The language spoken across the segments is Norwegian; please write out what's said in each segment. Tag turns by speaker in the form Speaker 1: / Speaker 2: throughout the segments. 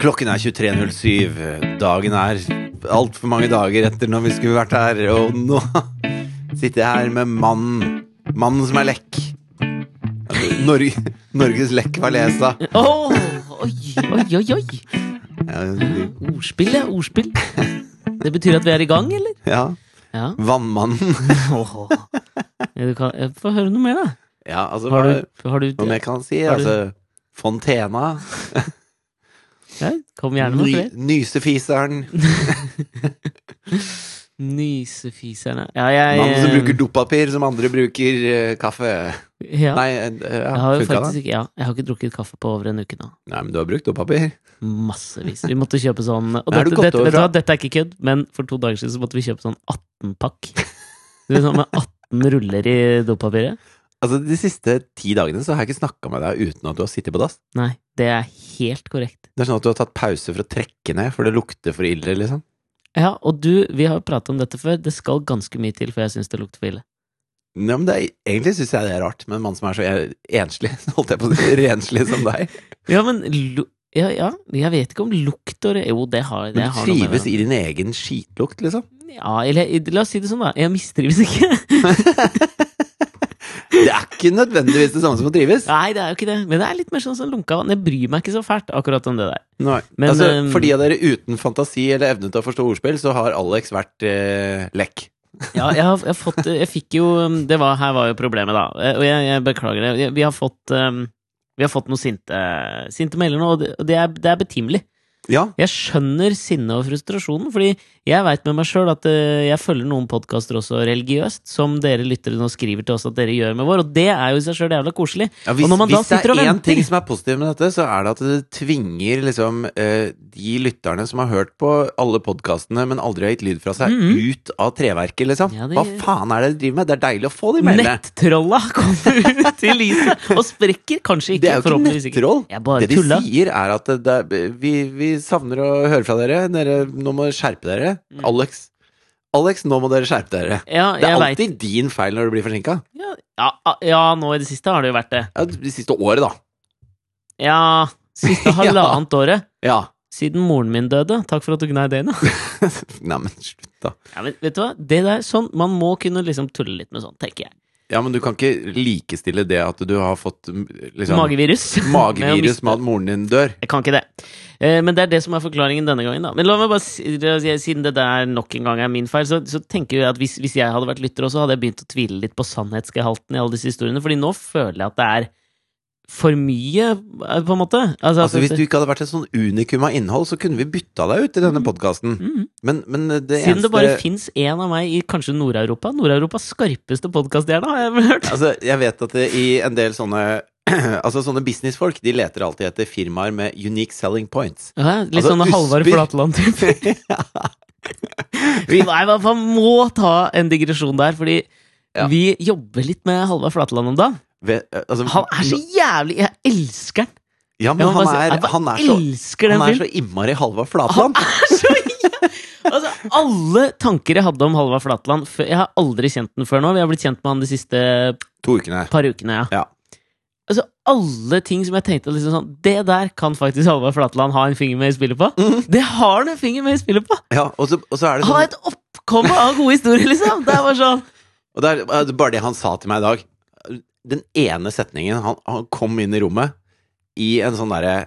Speaker 1: Klokken er 23.07. Dagen er altfor mange dager etter når vi skulle vært her, og nå sitter jeg her med mannen. Mannen som er lekk. Nor Norges lekk Valesa.
Speaker 2: Åh, oi, oi, oi, oi.
Speaker 1: Ja,
Speaker 2: Ordspill, ja. Ordspill. Det betyr at vi er i gang, eller?
Speaker 1: Ja.
Speaker 2: Ja.
Speaker 1: Vannmannen.
Speaker 2: Åh. Ja, Du kan, jeg får høre noe mer, da.
Speaker 1: Ja, altså, hva,
Speaker 2: Har du, har du
Speaker 1: hva mer kan han si?
Speaker 2: Har du-
Speaker 1: Altså, Fontena.
Speaker 2: ja, Kom gjerne med
Speaker 1: Ny,
Speaker 2: flere.
Speaker 1: nysefiseren.
Speaker 2: Nysefiserne. Ja, jeg
Speaker 1: Mannen som
Speaker 2: eh,
Speaker 1: bruker dopapir som andre bruker eh, kaffe.
Speaker 2: ja,
Speaker 1: Nei, eh,
Speaker 2: jeg
Speaker 1: ja,
Speaker 2: har jo
Speaker 1: funka
Speaker 2: faktisk
Speaker 1: det?
Speaker 2: ikke Ja, jeg har ikke drukket kaffe på over en uke nå.
Speaker 1: Nei, men du har brukt dopapir.
Speaker 2: Massevis. Vi måtte kjøpe sånn Og
Speaker 1: Er du
Speaker 2: dette,
Speaker 1: gått
Speaker 2: dette,
Speaker 1: over
Speaker 2: vet du hva,
Speaker 1: fra-
Speaker 2: dette er ikke kødd, men for to dager siden så måtte vi kjøpe sånn 18-pakk. Du vet, Sånn med 18 ruller i dopapiret.
Speaker 1: Altså, De siste ti dagene så har jeg ikke snakka med deg uten at du har sittet på dass.
Speaker 2: Nei, det er helt korrekt.
Speaker 1: Det er sånn at du har tatt pause for å trekke ned, for det lukter for ille, liksom.
Speaker 2: Ja, og du, vi har jo pratet om dette før. Det skal ganske mye til før jeg syns det lukter for ille.
Speaker 1: Ja, men det er, Egentlig syns jeg det er rart, med en mann som er så en- enslig, holdt jeg på å si, renslig som deg.
Speaker 2: Ja, men lu- ja, ja, jeg vet ikke om lukt og Jo, det har det
Speaker 1: Men du
Speaker 2: har noe med
Speaker 1: trives
Speaker 2: det.
Speaker 1: i din egen skitlukt, liksom.
Speaker 2: Ja, eller la oss si det sånn, da. Jeg mistrives ikke.
Speaker 1: Det er ikke nødvendigvis det samme som å trives.
Speaker 2: Nei, det er jo ikke det. Men det er litt mer sånn som lunka vann. Jeg bryr meg ikke så fælt akkurat om det der.
Speaker 1: Nei.
Speaker 2: Men,
Speaker 1: altså,
Speaker 2: ehm,
Speaker 1: for de av dere uten fantasi eller evne til å forstå ordspill, så har Alex vært eh, lekk.
Speaker 2: Ja, jeg har, jeg har fått Jeg fikk jo um, det var, Her var jo problemet, da. Eh, Og jeg, jeg beklager det. Vi- Vi har fått um, vi har fått noen sinte, sinte meldinger nå, og det, og det er, det er betimelig.
Speaker 1: Ja,
Speaker 2: Jeg skjønner sinnet og frustrasjonen, fordi jeg veit med meg sjøl at eh, jeg følger noen podkaster også religiøst, som dere lyttere nå skriver til oss at dere gjør med vår, og det er jo i seg sjøl jævla koselig.
Speaker 1: Ja, hvis,
Speaker 2: Og når man da
Speaker 1: hvis det
Speaker 2: sitter og
Speaker 1: er én
Speaker 2: venter-
Speaker 1: ting som er positiv med dette, så er det at det tvinger liksom eh, de lytterne som har hørt på alle podkastene, men aldri har gitt lyd fra seg, ut av treverket, liksom.
Speaker 2: Mhm. Ja, det-
Speaker 1: Hva faen er det dere driver med? Det er deilig å få de mailene.
Speaker 2: Nettrolla kommer ut til lyset og sprekker. Kanskje ikke,
Speaker 1: Det er jo ikke
Speaker 2: forhåpentligvis
Speaker 1: nettroll.
Speaker 2: Jeg bare
Speaker 1: Det de
Speaker 2: tulla.
Speaker 1: sier, er at det, det, er- vi, vi savner å høre fra dere. dere. Nå må dere skjerpe dere. Alex, Alex, nå må dere skjerpe dere.
Speaker 2: Ja,
Speaker 1: Det
Speaker 2: Mm. jeg
Speaker 1: er
Speaker 2: vet.
Speaker 1: alltid din feil når du blir forsinka.
Speaker 2: Ja, ja, ah, ja, nå i det siste har det jo vært det.
Speaker 1: Ja, det siste året, da.
Speaker 2: Ja, siste halvannet året.
Speaker 1: Ja.
Speaker 2: Siden moren min døde. Takk for at du gnei det inn. da.
Speaker 1: Neimen, slutt, da.
Speaker 2: Ja, men vet du hva? Det der, sånn, man må kunne liksom tulle litt med sånn, tenker jeg.
Speaker 1: Ja, men du kan ikke likestille det at du har fått mm, liksom,
Speaker 2: Magevirus. Med å
Speaker 1: magevirus
Speaker 2: miste-
Speaker 1: med at moren din dør.
Speaker 2: Jeg kan ikke det. Eh, Men det er det som er forklaringen denne gangen, da. Men la meg bare si, siden det der nok en gang er min feil, så, så tenker jeg at hvis, hvis jeg hadde vært lytter også, hadde jeg begynt å tvile litt på sannhetsgehalten i alle disse historiene. Fordi nå føler jeg at det er for mye, eh, på en måte. Altså,
Speaker 1: Altså,
Speaker 2: at-
Speaker 1: hvis du ikke hadde vært et sånn unikum av innhold, så kunne vi bytta deg ut i denne podkasten.
Speaker 2: Mhm.
Speaker 1: Men, men det
Speaker 2: Siden
Speaker 1: eneste
Speaker 2: det bare fins én av meg i kanskje Nord-Europa. Nord-Europas skarpeste podkaststjerne, har jeg vel hørt.
Speaker 1: Altså, jeg vet at det, i en del sånne Altså, sånne businessfolk de leter alltid etter firmaer med unique selling points.
Speaker 2: Ja, litt
Speaker 1: Altså,
Speaker 2: sånn Halvard
Speaker 1: Husby.
Speaker 2: Flatland-type. Nei, men man må ta en digresjon der, fordi
Speaker 1: Ja.
Speaker 2: vi jobber litt med Halvard Flatland om dagen.
Speaker 1: Ved, altså,
Speaker 2: Han er så jævlig Jeg elsker han!
Speaker 1: Ja, men
Speaker 2: Jeg
Speaker 1: han
Speaker 2: må bare si-
Speaker 1: er,
Speaker 2: jeg bare
Speaker 1: han er så
Speaker 2: elsker den
Speaker 1: han er
Speaker 2: filmen!
Speaker 1: så innmari Halvard Flatland.
Speaker 2: Så jævlig- altså, alle tanker jeg hadde om Halvard Flatland før- Jeg har aldri kjent den før nå. Vi har blitt kjent med han de siste
Speaker 1: To ukene her.
Speaker 2: par ukene. ja.
Speaker 1: Ja.
Speaker 2: Altså, alle ting som jeg tenkte liksom sånn, Det der kan faktisk Halvard Flatland ha en finger med i spillet på. Det har han en finger med i spillet på!
Speaker 1: Ja, og, så, og så Mhm. er det
Speaker 2: Han
Speaker 1: sånn
Speaker 2: har et oppkomme av gode historier, liksom! Det er bare sånn
Speaker 1: Og det er eh, bare det han sa til meg i dag. Den ene setningen Han, han kom inn i rommet i en sånn derre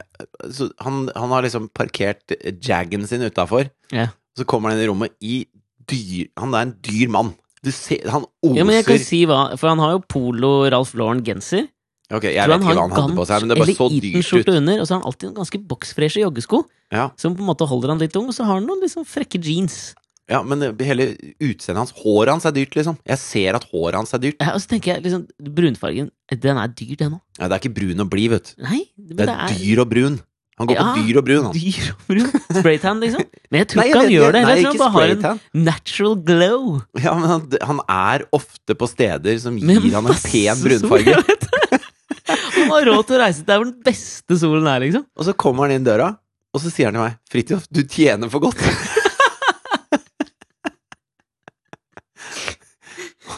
Speaker 1: så han, han har liksom parkert jaggen sin utafor.
Speaker 2: Ja.
Speaker 1: Så kommer han inn i rommet i dyr Han er en dyr mann. Du ser, han oser
Speaker 2: Ja, men jeg kan si hva, for han har jo polo Ralph Lauren-genser.
Speaker 1: Ok, jeg vet ikke
Speaker 2: Tror
Speaker 1: hva han hadde
Speaker 2: gans-
Speaker 1: på seg, men det bare så
Speaker 2: Eller
Speaker 1: dyrt ut.
Speaker 2: Eton-skjorte under, og så har han alltid en ganske boksfreshe joggesko,
Speaker 1: Ja,
Speaker 2: som på en måte holder han litt ung, og så har han noen liksom frekke jeans.
Speaker 1: ja, men eh, hele utseendet hans Håret hans er dyrt, liksom. Jeg ser at håret hans er dyrt.
Speaker 2: Ja, og så tenker jeg liksom, brunfargen, den er dyr, den òg.
Speaker 1: Ja, det er ikke brun og blid, vet du.
Speaker 2: Nei, men
Speaker 1: Det er dyr og brun. Han går
Speaker 2: Ja,
Speaker 1: på dyr og brun, han.
Speaker 2: dyr og brun. Spraytan, liksom. Men jeg tror
Speaker 1: Nei, jeg
Speaker 2: ikke han
Speaker 1: vet-
Speaker 2: gjør det.
Speaker 1: nei,
Speaker 2: jeg
Speaker 1: ikke
Speaker 2: tror han bare har en
Speaker 1: spraytan.
Speaker 2: natural glow.
Speaker 1: Ja, men han, han er ofte på steder som
Speaker 2: Med
Speaker 1: gir han en
Speaker 2: masse
Speaker 1: pen
Speaker 2: sol,
Speaker 1: brunfarge.
Speaker 2: jeg vet det. Han har råd til å reise til der hvor den beste solen er, liksom.
Speaker 1: Og så kommer han inn døra, og så sier han til meg 'Fridtjof, du tjener for godt'.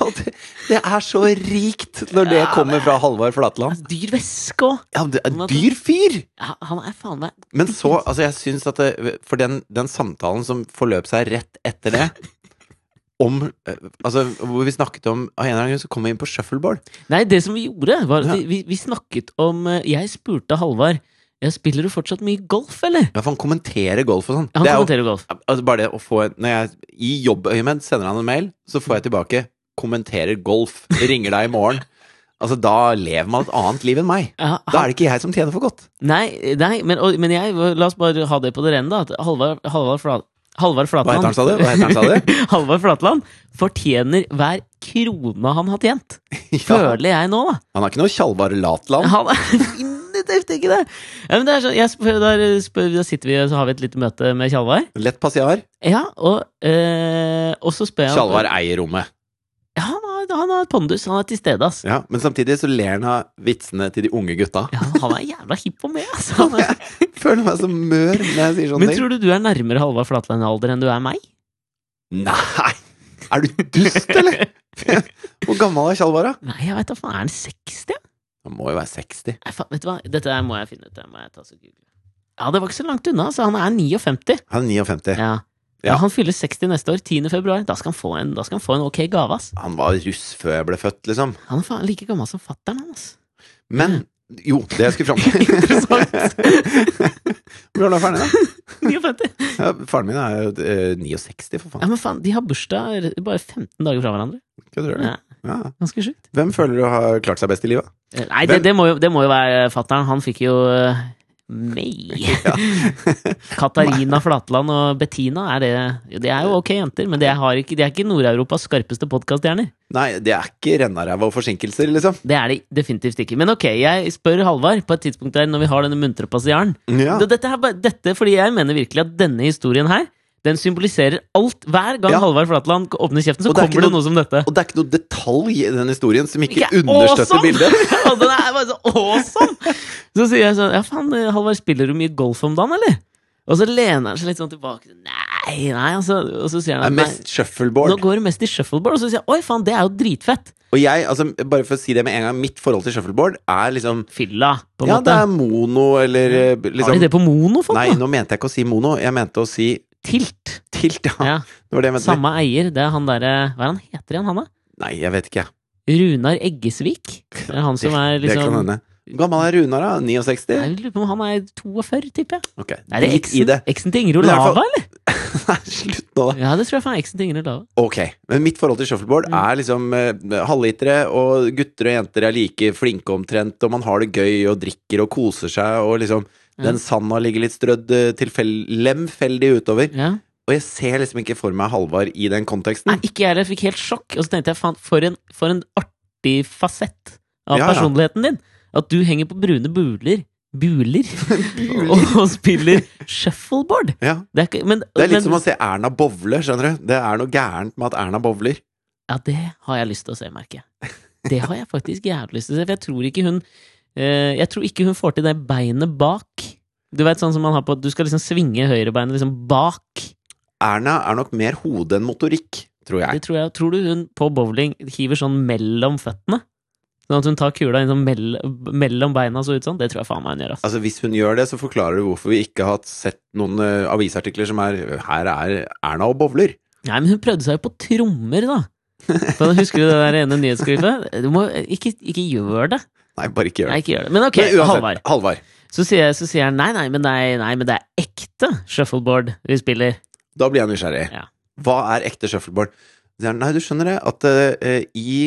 Speaker 1: og det, Det er så rikt når det kommer fra Halvard Flatland.
Speaker 2: Dyr væske òg!
Speaker 1: Ja, det er dyr fyr!
Speaker 2: Ja, han er faen meg
Speaker 1: Men så, altså jeg syns at det, For den, den samtalen som forløp seg rett etter det om, eh, altså, hvor vi snakket om Av en eller annen grunn så kom vi inn på shuffleboard.
Speaker 2: Nei, det som vi gjorde, var at
Speaker 1: Ja.
Speaker 2: vi, vi, vi snakket om eh, Jeg spurte Halvard «Ja, Spiller du fortsatt mye golf, eller?
Speaker 1: Ja, for han kommenterer golf og sånn. Det
Speaker 2: Han
Speaker 1: er jo
Speaker 2: kommenterer golf.
Speaker 1: altså, bare det å få en- Når jeg i jobbøyemed sender han en mail, så får jeg tilbake 'kommenterer golf', ringer deg i morgen. Altså, da lever man et annet liv enn meg.
Speaker 2: Ja, han,
Speaker 1: Da er det ikke jeg som tjener for godt.
Speaker 2: Nei, nei men, og, men jeg La oss bare ha det på det rene, da. At Halvard Halvard Flat, Halvard
Speaker 1: Hva heter han,
Speaker 2: Flatland
Speaker 1: sa du? Hva heter han, sa du?
Speaker 2: Halvard Flatland fortjener hver krone han har tjent,
Speaker 1: Ja.
Speaker 2: føler jeg nå, da.
Speaker 1: Han har ikke noe Tjalvar Latland.
Speaker 2: Han er definitivt ikke det! Ja, men det er sånn, jeg spør, der, spør, da sitter vi og så har vi et lite møte med Tjalvar.
Speaker 1: Lett passiar.
Speaker 2: Ja, og, eh, og så spør jeg om-
Speaker 1: Tjalvar eier rommet.
Speaker 2: Ja, han har, han har pondus. Han er til stede, ass.
Speaker 1: Ja, men samtidig så ler han av vitsene til de unge gutta.
Speaker 2: Ja, han er jævla hipp og med, altså. Han er,
Speaker 1: Føler meg så mør når jeg sier sånne
Speaker 2: men
Speaker 1: ting.
Speaker 2: tror du du er nærmere Halvard Flatland i alder enn du er meg?
Speaker 1: Nei! Er du dust, eller? Hvor gammel er Tjalvar, da?
Speaker 2: Nei, jeg veit da faen. Er han 60?
Speaker 1: Han må jo være 60.
Speaker 2: Nei, faen, vet du hva? Dette her må jeg finne ut. Det må jeg ta så google. Ja, det var ikke så langt unna. Så han er 59.
Speaker 1: Han er 59.
Speaker 2: Ja.
Speaker 1: Ja.
Speaker 2: Ja, han fyller 60 neste år. 10. februar. Da skal han få en, da skal han få en ok gave, ass.
Speaker 1: Han var russ før jeg ble født, liksom.
Speaker 2: Han er faen like gammel som fatter'n, han, ass.
Speaker 1: Men jo, det jeg skulle fram til
Speaker 2: Interessant.
Speaker 1: Hvor gammel er faren din,
Speaker 2: 59.
Speaker 1: da? Ja, faren min er jo eh, 69, for
Speaker 2: Ja,
Speaker 1: faen.
Speaker 2: men faen, de har bursdag bare 15 dager fra hverandre.
Speaker 1: Kødder du?
Speaker 2: Ja,
Speaker 1: Ja.
Speaker 2: ganske sjukt.
Speaker 1: Hvem føler du har klart seg best i livet?
Speaker 2: Eh, Nei, det,
Speaker 1: Hvem-
Speaker 2: det, må jo, det må jo være fatter'n. Han fikk jo eh, meg. Katarina Flatland og Bettina er det Det er jo ok jenter, men det har ikke, de er ikke Nord-Europas skarpeste podkaststjerner.
Speaker 1: Nei, det er ikke rennaræv og forsinkelser, liksom.
Speaker 2: Det er det definitivt ikke. Men ok, jeg spør Halvard på et tidspunkt der når vi har denne muntre passiaren.
Speaker 1: Ja.
Speaker 2: Det- Dette, er bare- dette fordi jeg mener virkelig at denne historien her den symboliserer alt. Hver gang
Speaker 1: Ja.
Speaker 2: Halvard Flatland k- åpner kjeften, så
Speaker 1: Og det er ikke
Speaker 2: kommer
Speaker 1: noe-
Speaker 2: det noe som dette.
Speaker 1: Og det er ikke noe detalj i den historien som ikke,
Speaker 2: Ikke
Speaker 1: understøtter
Speaker 2: awesome!
Speaker 1: bildet.
Speaker 2: og den er bare så awesome! Så sier jeg sånn Ja, faen, eh, Halvard, spiller du mye golf om dagen, eller? Og så lener han seg litt sånn tilbake. Nei, nei, altså, og så sier
Speaker 1: Det
Speaker 2: han
Speaker 1: er
Speaker 2: nei,
Speaker 1: mest shuffleboard.
Speaker 2: Nå går det mest i shuffleboard, og så sier jeg oi faen, det er jo dritfett.
Speaker 1: Og jeg, altså, bare for å si det med en gang, mitt forhold til shuffleboard er liksom
Speaker 2: Fylla, på en
Speaker 1: Ja, det
Speaker 2: måte.
Speaker 1: er mono, eller eh,
Speaker 2: Har de
Speaker 1: liksom
Speaker 2: det på mono, folk?
Speaker 1: Nei,
Speaker 2: da?
Speaker 1: nå mente jeg ikke å si mono, jeg mente å si
Speaker 2: Tilt.
Speaker 1: tilt, ja.
Speaker 2: Ja.
Speaker 1: Det var det jeg mente.
Speaker 2: Samme eier, det er han derre Hva er han heter igjen, han da?
Speaker 1: Nei, jeg vet ikke, jeg.
Speaker 2: Runar Eggesvik? Det er han som er
Speaker 1: Det kan
Speaker 2: liksom
Speaker 1: hende. Hvor gammel er Runar, da?
Speaker 2: Nei,
Speaker 1: 69?
Speaker 2: jeg lurer på om han er 42, tipper jeg.
Speaker 1: Ok,
Speaker 2: Er det
Speaker 1: drit i
Speaker 2: eksen,
Speaker 1: det.
Speaker 2: eksen til Ingrid
Speaker 1: Men i hvert
Speaker 2: Olava,
Speaker 1: fall-
Speaker 2: eller?
Speaker 1: Nei, Slutt nå, da.
Speaker 2: Ja, det tror jeg faen er eksen til Ingrid Olava.
Speaker 1: Ok, men mitt forhold til shuffleboard
Speaker 2: Mm.
Speaker 1: er liksom eh, halvlitere, og gutter og jenter er like flinke omtrent, og man har det gøy og drikker og koser seg, og liksom
Speaker 2: Ja.
Speaker 1: den sanda ligger litt strødd eh, tilfell- lemfeldig utover.
Speaker 2: Ja.
Speaker 1: Og jeg ser liksom ikke for meg Halvard i den
Speaker 2: Nei,
Speaker 1: konteksten.
Speaker 2: ikke jeg heller. Fikk helt sjokk. Og så tenkte jeg faen, for en, for en artig fasett av
Speaker 1: Ja, ja.
Speaker 2: personligheten din. At du henger på brune buler. Buler. og, og spiller shuffleboard.
Speaker 1: Ja.
Speaker 2: Det er, ikke, men,
Speaker 1: Det er litt
Speaker 2: men,
Speaker 1: som å se Erna bowle, skjønner du. Det er noe gærent med at Erna bowler.
Speaker 2: Ja, det har jeg lyst til å se, merker jeg. Det har jeg faktisk jævlig lyst til å se, for jeg tror ikke hun eh, Jeg tror ikke hun får til det beinet bak. Du vet sånn som man har på at du skal liksom svinge høyrebeinet liksom bak.
Speaker 1: Erna er nok mer hode enn motorikk, tror
Speaker 2: Det
Speaker 1: jeg.
Speaker 2: tror jeg. Tror du hun på bowling hiver sånn mellom føttene? Sånn at hun tar kula inn sånn mell mellom beina så ut sånn? Det tror jeg faen meg hun gjør, ass.
Speaker 1: Altså Hvis hun gjør det, så forklarer du hvorfor vi ikke har sett noen eh, avisartikler som er 'Her er Erna og bowler'.
Speaker 2: Nei, men hun prøvde seg jo på trommer, da. For husker du det der ene nyhetsskrivet? Du må ikke, ikke gjør det.
Speaker 1: Nei, bare ikke gjør det.
Speaker 2: Nei, ikke gjør det. Men ok,
Speaker 1: Men uansett,
Speaker 2: Halvard. Så sier, jeg, så sier han nei, nei, men det er, nei, men det er ekte shuffleboard vi spiller.
Speaker 1: Da blir jeg nysgjerrig.
Speaker 2: Ja.
Speaker 1: Hva er ekte shuffleboard? Så sier han, Nei, du skjønner det, at eh, i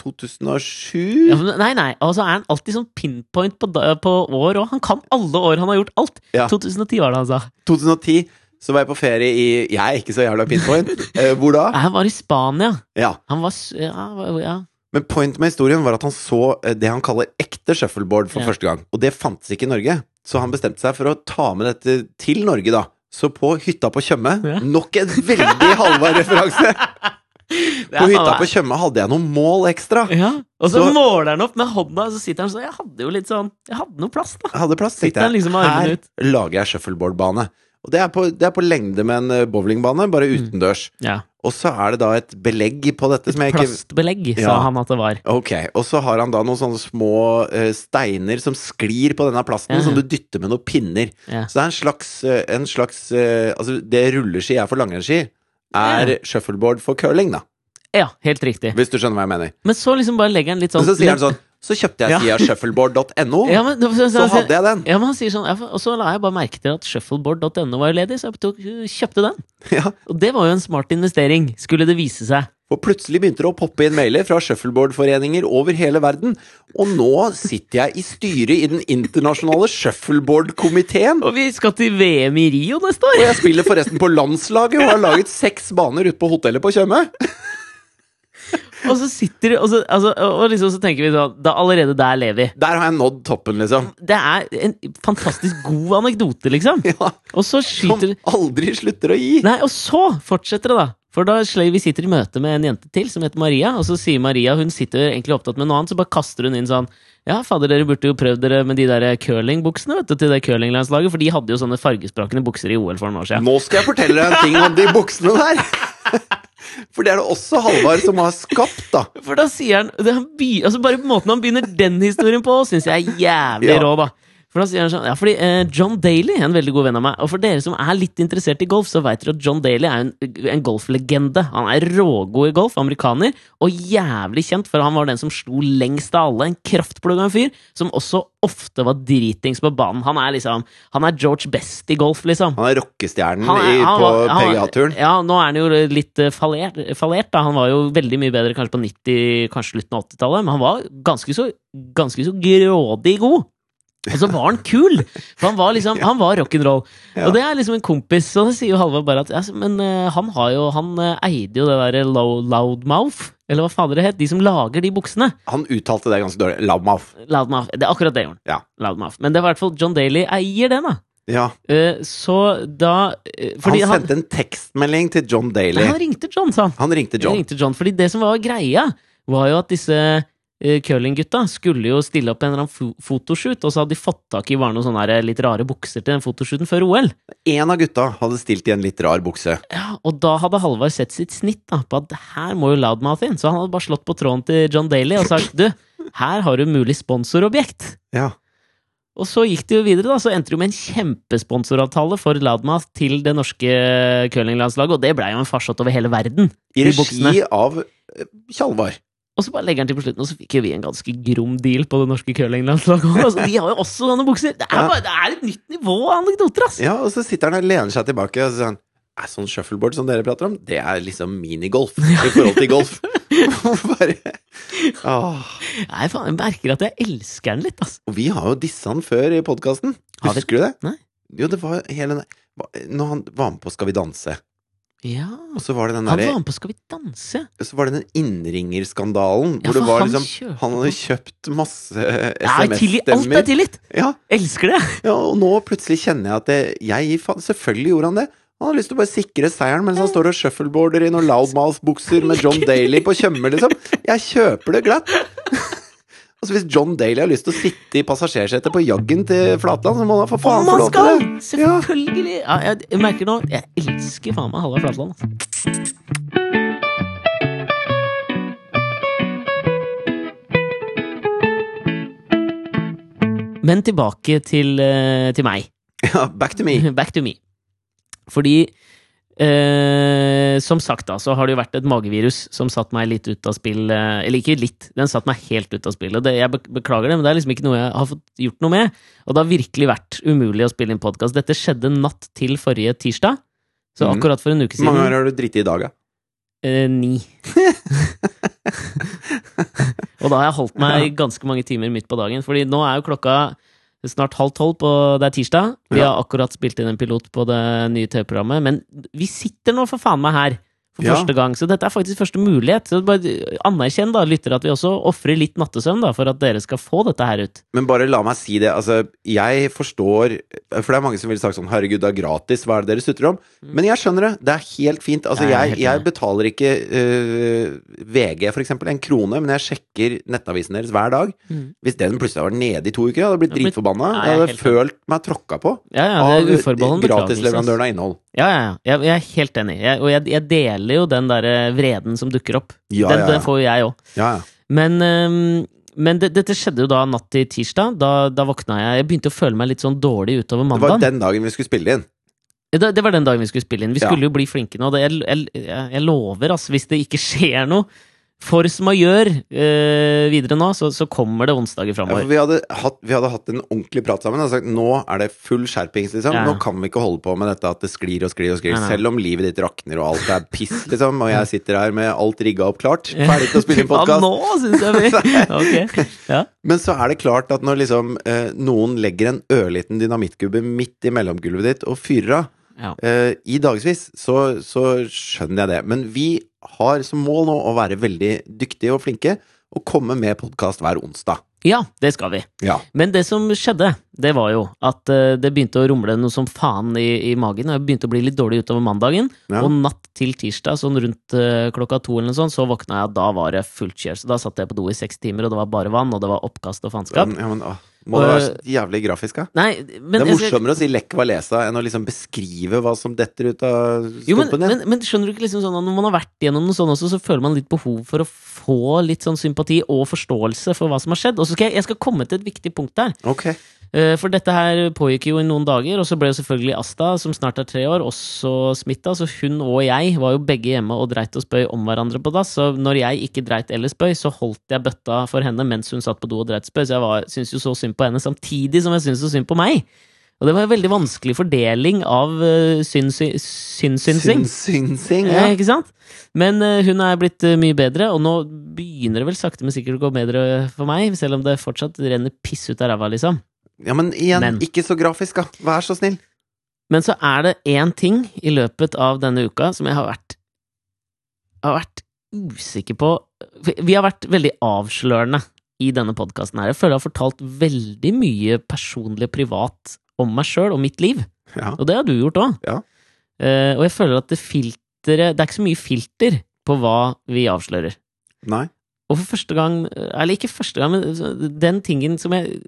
Speaker 1: 2007
Speaker 2: Ja, men nei, nei, og så er han alltid sånn pinpoint på, da- på år òg. Han kan alle år, han har gjort alt.
Speaker 1: Ja.
Speaker 2: 2010 var det han sa.
Speaker 1: 2010 så var jeg på ferie i Jeg er ikke så jævla pinpoint. Eh, hvor da?
Speaker 2: Nei, Han var i Spania.
Speaker 1: Ja.
Speaker 2: Han var s- ja, han var- ja.
Speaker 1: Men point med historien var at han så eh, det han kaller ekte shuffleboard for
Speaker 2: Ja.
Speaker 1: første gang. Og det fantes ikke i Norge. Så han bestemte seg for å ta med dette til Norge, da. Så på hytta på Tjøme
Speaker 2: Ja.
Speaker 1: Nok en veldig Halvard-referanse! På hytta på
Speaker 2: kjøkkenet.
Speaker 1: Tjøme hadde jeg noen mål ekstra.
Speaker 2: Ja. Og så,
Speaker 1: Så-
Speaker 2: måler han opp med hånda, og så sitter han sånn. Jeg hadde jo litt sånn Jeg hadde noe plass, da.
Speaker 1: Jeg hadde plass, tenkte
Speaker 2: Sitter han
Speaker 1: jeg.
Speaker 2: liksom med armene
Speaker 1: Her
Speaker 2: ut. Mm.
Speaker 1: lager jeg shuffleboardbane. Og det er, på, det er på lengde med en eh, bowlingbane, bare utendørs.
Speaker 2: Ja.
Speaker 1: Og så er det da et belegg på dette som jeg ikke
Speaker 2: Plastbelegg, sa
Speaker 1: Ja.
Speaker 2: han at det var.
Speaker 1: Ok, Og så har han da noen sånne små eh, steiner som sklir på denne plasten,
Speaker 2: Ja.
Speaker 1: som du dytter med noen pinner.
Speaker 2: Mhm. Ja.
Speaker 1: Så det er en slags, eh, en slags eh, Altså, det rulleski er for langrennsski, er
Speaker 2: Ja.
Speaker 1: shuffleboard for curling, da.
Speaker 2: Ja, helt riktig.
Speaker 1: Hvis du skjønner hva jeg mener.
Speaker 2: Men så liksom bare legger han litt sånn
Speaker 1: Men så sier han sånn Så kjøpte jeg
Speaker 2: Ja.
Speaker 1: sida shuffleboard.no,
Speaker 2: ja, men, så,
Speaker 1: så hadde jeg den.
Speaker 2: Ja, men han sier sånn, ja, for- Og så la jeg bare merke til at shuffleboard.no var jo ledig, så jeg tok, kjøpte den.
Speaker 1: Ja.
Speaker 2: Og det var jo en smart investering, skulle det vise seg.
Speaker 1: For plutselig begynte det å poppe inn mailer fra shuffleboardforeninger over hele verden. Og nå sitter jeg i styret i den internasjonale shuffleboardkomiteen.
Speaker 2: Og vi skal til VM i Rio neste
Speaker 1: Og
Speaker 2: år!
Speaker 1: jeg spiller forresten på landslaget og har laget seks baner ute på hotellet på Tjøme.
Speaker 2: Og så sitter og så, altså, og liksom, så tenker vi sånn da Allerede der lever vi.
Speaker 1: Der har jeg nådd toppen, liksom.
Speaker 2: Det er en fantastisk god anekdote, liksom.
Speaker 1: Ja,
Speaker 2: Og så
Speaker 1: Som
Speaker 2: skyter
Speaker 1: aldri slutter å gi.
Speaker 2: Nei, og så fortsetter det, da. For da sl- vi sitter i møte med en jente til som heter Maria, og så sier Maria Hun sitter egentlig opptatt med noe annet, så bare kaster hun inn sånn Ja, fader, dere burde jo prøvd dere med de der curlingbuksene vet du, til det curlinglandslaget, for de hadde jo sånne fargesprakende bukser i OL for noen år siden.
Speaker 1: Nå skal jeg fortelle deg en ting om de buksene der. For det er det også Halvard som har skapt, da.
Speaker 2: For da sier han, det, han begy- altså Bare måten han begynner den historien på, syns jeg er jævlig
Speaker 1: Ja.
Speaker 2: rå, da. For da sier han sånn, ja, fordi eh, John Daly er en veldig god venn av meg. Og for dere som er litt interessert i golf, så vet dere at John Daly er en, en golflegende. Han er rågod i golf, amerikaner, og jævlig kjent, for han var den som slo lengst av alle. En kraftplugg av en fyr, som også ofte var dritings på banen. Han er liksom, han er George Best i golf, liksom.
Speaker 1: Han er rockestjernen
Speaker 2: Han er-
Speaker 1: Mm, i-
Speaker 2: han
Speaker 1: på
Speaker 2: var- han-
Speaker 1: PGA-turen.
Speaker 2: Ja, nå er han jo litt eh, fallert, fallert da. Han var jo veldig mye bedre kanskje på 90, kanskje slutten av 80-tallet, men han var ganske så, ganske så grådig god. Og så var han kul! For han var liksom, han var rock'n'roll.
Speaker 1: Ja.
Speaker 2: Og det er liksom en kompis, og det sier jo Halvard bare at altså, Men eh, han har jo, han eh, eide jo det derre low, loudmouth, eller hva fader det het, de som lager de buksene.
Speaker 1: Han uttalte det ganske dårlig. Lavmaf.
Speaker 2: Loudmouth. Det er akkurat det, Jorden.
Speaker 1: Ja.
Speaker 2: Loudmouth. Men det var i hvert fall John Daly eier den, da.
Speaker 1: Ja.
Speaker 2: Eh, Så da eh,
Speaker 1: Han
Speaker 2: Fordi han,
Speaker 1: sendte en tekstmelding til John Daly.
Speaker 2: Nei, han ringte John, sa han.
Speaker 1: Han ringte
Speaker 2: Jeg
Speaker 1: John.
Speaker 2: ringte John, fordi det som var greia, var jo at disse eh, curlinggutta skulle jo stille opp en eller annen fo- fotoshoot, og så hadde de fått tak i bare noen sånne her litt rare bukser til den fotoshooten før OL.
Speaker 1: En av gutta hadde stilt i en litt rar bukse.
Speaker 2: Ja, og da hadde Halvard sett sitt snitt da, på at det her må jo Loudmouth inn, så han hadde bare slått på tråden til John Daly og sagt du, her har du mulig sponsorobjekt.
Speaker 1: Ja.
Speaker 2: Og så gikk det jo videre, da, så endte det jo med en kjempesponsoravtale for Loudmouth til det norske curlinglandslaget, og det blei jo en farsott over hele verden.
Speaker 1: I
Speaker 2: I
Speaker 1: regi
Speaker 2: buksene.
Speaker 1: av eh, Tjalvar.
Speaker 2: Og så bare legger han til på slutten, og så fikk jo vi en ganske grom deal på det norske curlinglandslaget. også. Altså, de har jo også sånne bukser! Det er,
Speaker 1: Ja.
Speaker 2: bare, det er et nytt nivå av anekdoter, ass!
Speaker 1: Ja, og så sitter han og lener seg tilbake og så sier han «Nei, Sånn shuffleboard som dere prater om, det er liksom minigolf i forhold til golf. Bare Åh.
Speaker 2: Nei, faen, jeg merker at jeg elsker den litt, ass.
Speaker 1: Og vi har jo dissa han før i podkasten.
Speaker 2: Har vi?
Speaker 1: Husker du det?
Speaker 2: Nei.
Speaker 1: Jo, det var hele den- hva- Når han var med på Skal vi danse,
Speaker 2: Ja.
Speaker 1: og så var det den
Speaker 2: Han var
Speaker 1: derre
Speaker 2: med på Skal vi danse.
Speaker 1: Så var det den innringerskandalen
Speaker 2: Ja,
Speaker 1: hvor det
Speaker 2: for
Speaker 1: var
Speaker 2: han
Speaker 1: liksom
Speaker 2: kjøper-
Speaker 1: Han hadde kjøpt masse
Speaker 2: Ja, tilgi, alt er
Speaker 1: SMS-stemmer.
Speaker 2: tilgitt!
Speaker 1: Ja,
Speaker 2: Elsker det!
Speaker 1: ja, og nå plutselig kjenner jeg at det, jeg gir faen. Selvfølgelig gjorde han det. Han har lyst til å bare sikre seieren mens han står og shuffleboarder i noen loudmouth-bukser med John Daly på Tjøme, liksom. Jeg kjøper det glatt. Altså Hvis John Daly har lyst til å sitte i passasjersetet på jaggen til Flatland, så må han for faen
Speaker 2: Om
Speaker 1: få
Speaker 2: han
Speaker 1: lov til
Speaker 2: skal!
Speaker 1: det. Ja.
Speaker 2: Selvfølgelig! Ja, jeg, jeg merker nå Jeg elsker faen meg Halvard Flatland, altså. ass. Men tilbake til, eh, til meg.
Speaker 1: Ja, back to me.
Speaker 2: Back to me. Fordi eh, Som sagt, da, så har det jo vært et magevirus som satt meg litt ut av spill. eh, eller ikke litt, den satt meg helt ut av spill. Og det, jeg bek- beklager det, men det er liksom ikke noe jeg har fått gjort noe med. Og det har virkelig vært umulig å spille inn podkast. Dette skjedde natt til forrige tirsdag. Så
Speaker 1: Mhm.
Speaker 2: akkurat for en uke
Speaker 1: Hvor
Speaker 2: siden.
Speaker 1: mange ganger har du driti i dag, da?
Speaker 2: Eh, ni. og da har jeg holdt meg i ganske mange timer midt på dagen, Fordi nå er jo klokka snart halv tolv, på, det er tirsdag. Vi
Speaker 1: Ja.
Speaker 2: har akkurat spilt inn en pilot på det nye TV-programmet, men vi sitter nå for faen meg her. For
Speaker 1: Ja.
Speaker 2: første gang, Så dette er faktisk første mulighet. Så bare Anerkjenn da, lyttere, at vi også ofrer litt nattesøvn da, for at dere skal få dette her ut.
Speaker 1: Men bare la meg si det. Altså, jeg forstår For det er mange som ville sagt sånn Herregud, det er gratis, hva er det dere sutrer om? Men jeg skjønner det. Det er helt fint. Altså,
Speaker 2: Ja, jeg Mm. er
Speaker 1: jeg,
Speaker 2: helt
Speaker 1: jeg
Speaker 2: enig.
Speaker 1: betaler ikke øh, VG, for eksempel, en krone, men jeg sjekker nettavisen deres hver dag.
Speaker 2: Mm.
Speaker 1: Hvis den plutselig hadde vært nede i to uker, jeg hadde blitt
Speaker 2: Jeg hadde blitt-
Speaker 1: dritforbanna.
Speaker 2: Nei,
Speaker 1: Jeg
Speaker 2: jeg er
Speaker 1: hadde følt meg tråkka på
Speaker 2: Ja, ja,
Speaker 1: av
Speaker 2: det er uforbeholden beklagelse. ass.
Speaker 1: gratisleverandøren av innhold.
Speaker 2: Ja, ja, ja. Jeg, jeg er helt enig. Jeg, og jeg, jeg deler jo den der eh, vreden som dukker opp.
Speaker 1: Ja,
Speaker 2: den,
Speaker 1: ja, ja.
Speaker 2: den får jo jeg òg.
Speaker 1: Ja, ja.
Speaker 2: Men, ehm, men det, dette skjedde jo da natt til tirsdag. Da, da våkna jeg. Jeg begynte å føle meg litt sånn dårlig utover
Speaker 1: Det var
Speaker 2: mandagen.
Speaker 1: den dagen vi skulle spille inn.
Speaker 2: Ja, Det, det var den dagen vi skulle spille inn. Vi
Speaker 1: Ja.
Speaker 2: skulle jo bli flinke nå. Det, jeg, jeg, jeg lover, altså, hvis det ikke skjer noe for majør eh, videre nå, så, så kommer det onsdager
Speaker 1: Ja, for
Speaker 2: framover.
Speaker 1: vi, hadde hatt, vi hadde hatt en ordentlig prat sammen og sagt nå er det full skjerpings. Liksom.
Speaker 2: Ja.
Speaker 1: Nå kan vi ikke holde på med dette at det sklir og sklir og sklir.
Speaker 2: Nei, nei.
Speaker 1: Selv om livet ditt rakner og alt er piss, liksom. Og jeg sitter her med alt rigga opp klart. Ferdig til å spille inn podkast.
Speaker 2: nå syns jeg vi Ok. Ja.
Speaker 1: Men så er det klart at når liksom eh, noen legger en ørliten dynamittkubbe midt i mellomgulvet ditt og fyrer av
Speaker 2: Ja.
Speaker 1: eh, i dagevis, så, så skjønner jeg det. Men vi har som mål nå å være veldig dyktige og flinke og komme med podkast hver onsdag.
Speaker 2: ja, det skal vi.
Speaker 1: Ja.
Speaker 2: Men det som skjedde, det var jo at eh, det begynte å rumle noe som faen i, i magen. og Jeg begynte å bli litt dårlig utover mandagen.
Speaker 1: Ja.
Speaker 2: Og natt til tirsdag, sånn rundt eh, klokka to, eller noe sånt, så våkna jeg, og da var det fullt kjør. Så da satt jeg på do i seks timer, og det var bare vann, og det var oppkast og
Speaker 1: Ja,
Speaker 2: faenskap.
Speaker 1: men, åh, må det være så jævlig grafisk, da?
Speaker 2: Nei, men
Speaker 1: det er
Speaker 2: jeg skal-
Speaker 1: morsommere å si 'lekk valesa' enn å liksom beskrive hva som detter ut av
Speaker 2: Jo, men,
Speaker 1: stumpen din.
Speaker 2: men, men skjønner du ikke liksom sånn at når man har vært gjennom noe sånn også, så føler man litt behov for å få litt sånn sympati og forståelse for hva som har skjedd. Og så skal jeg, jeg skal komme til et viktig punkt der.
Speaker 1: Ok.
Speaker 2: Eh, For dette her pågikk jo i noen dager, og så ble jo selvfølgelig Asta, som snart er tre år, også smitta. Så hun og jeg var jo begge hjemme og dreit og spøy om hverandre på dass. Så når jeg ikke dreit eller spøy, så holdt jeg bøtta for henne mens hun satt på do og dreit og spøy. Så jeg var, syntes jo så synd på henne, samtidig som jeg syntes så synd på meg. Og det var en veldig vanskelig fordeling av uh, synssynsing.
Speaker 1: Synsing,
Speaker 2: Ja.
Speaker 1: ja.
Speaker 2: Ikke sant? Men eh, hun er blitt eh, mye bedre, og nå begynner det vel sakte, men sikkert å gå bedre for meg, selv om det fortsatt renner piss ut av ræva, liksom.
Speaker 1: ja. Men igjen,
Speaker 2: Men.
Speaker 1: ikke så grafisk, da. Vær så snill.
Speaker 2: Men så er det én ting i løpet av denne uka som jeg har vært Har vært usikker på Vi vi har vært veldig avslørende i denne podkasten her. Jeg føler jeg har fortalt veldig mye personlig og privat om meg sjøl og mitt liv.
Speaker 1: Ja.
Speaker 2: Og det har du gjort òg.
Speaker 1: Ja.
Speaker 2: og jeg føler at det filteret Det er ikke så mye filter på hva vi avslører.
Speaker 1: Nei.
Speaker 2: Og for første gang Eller ikke første gang, men den tingen som jeg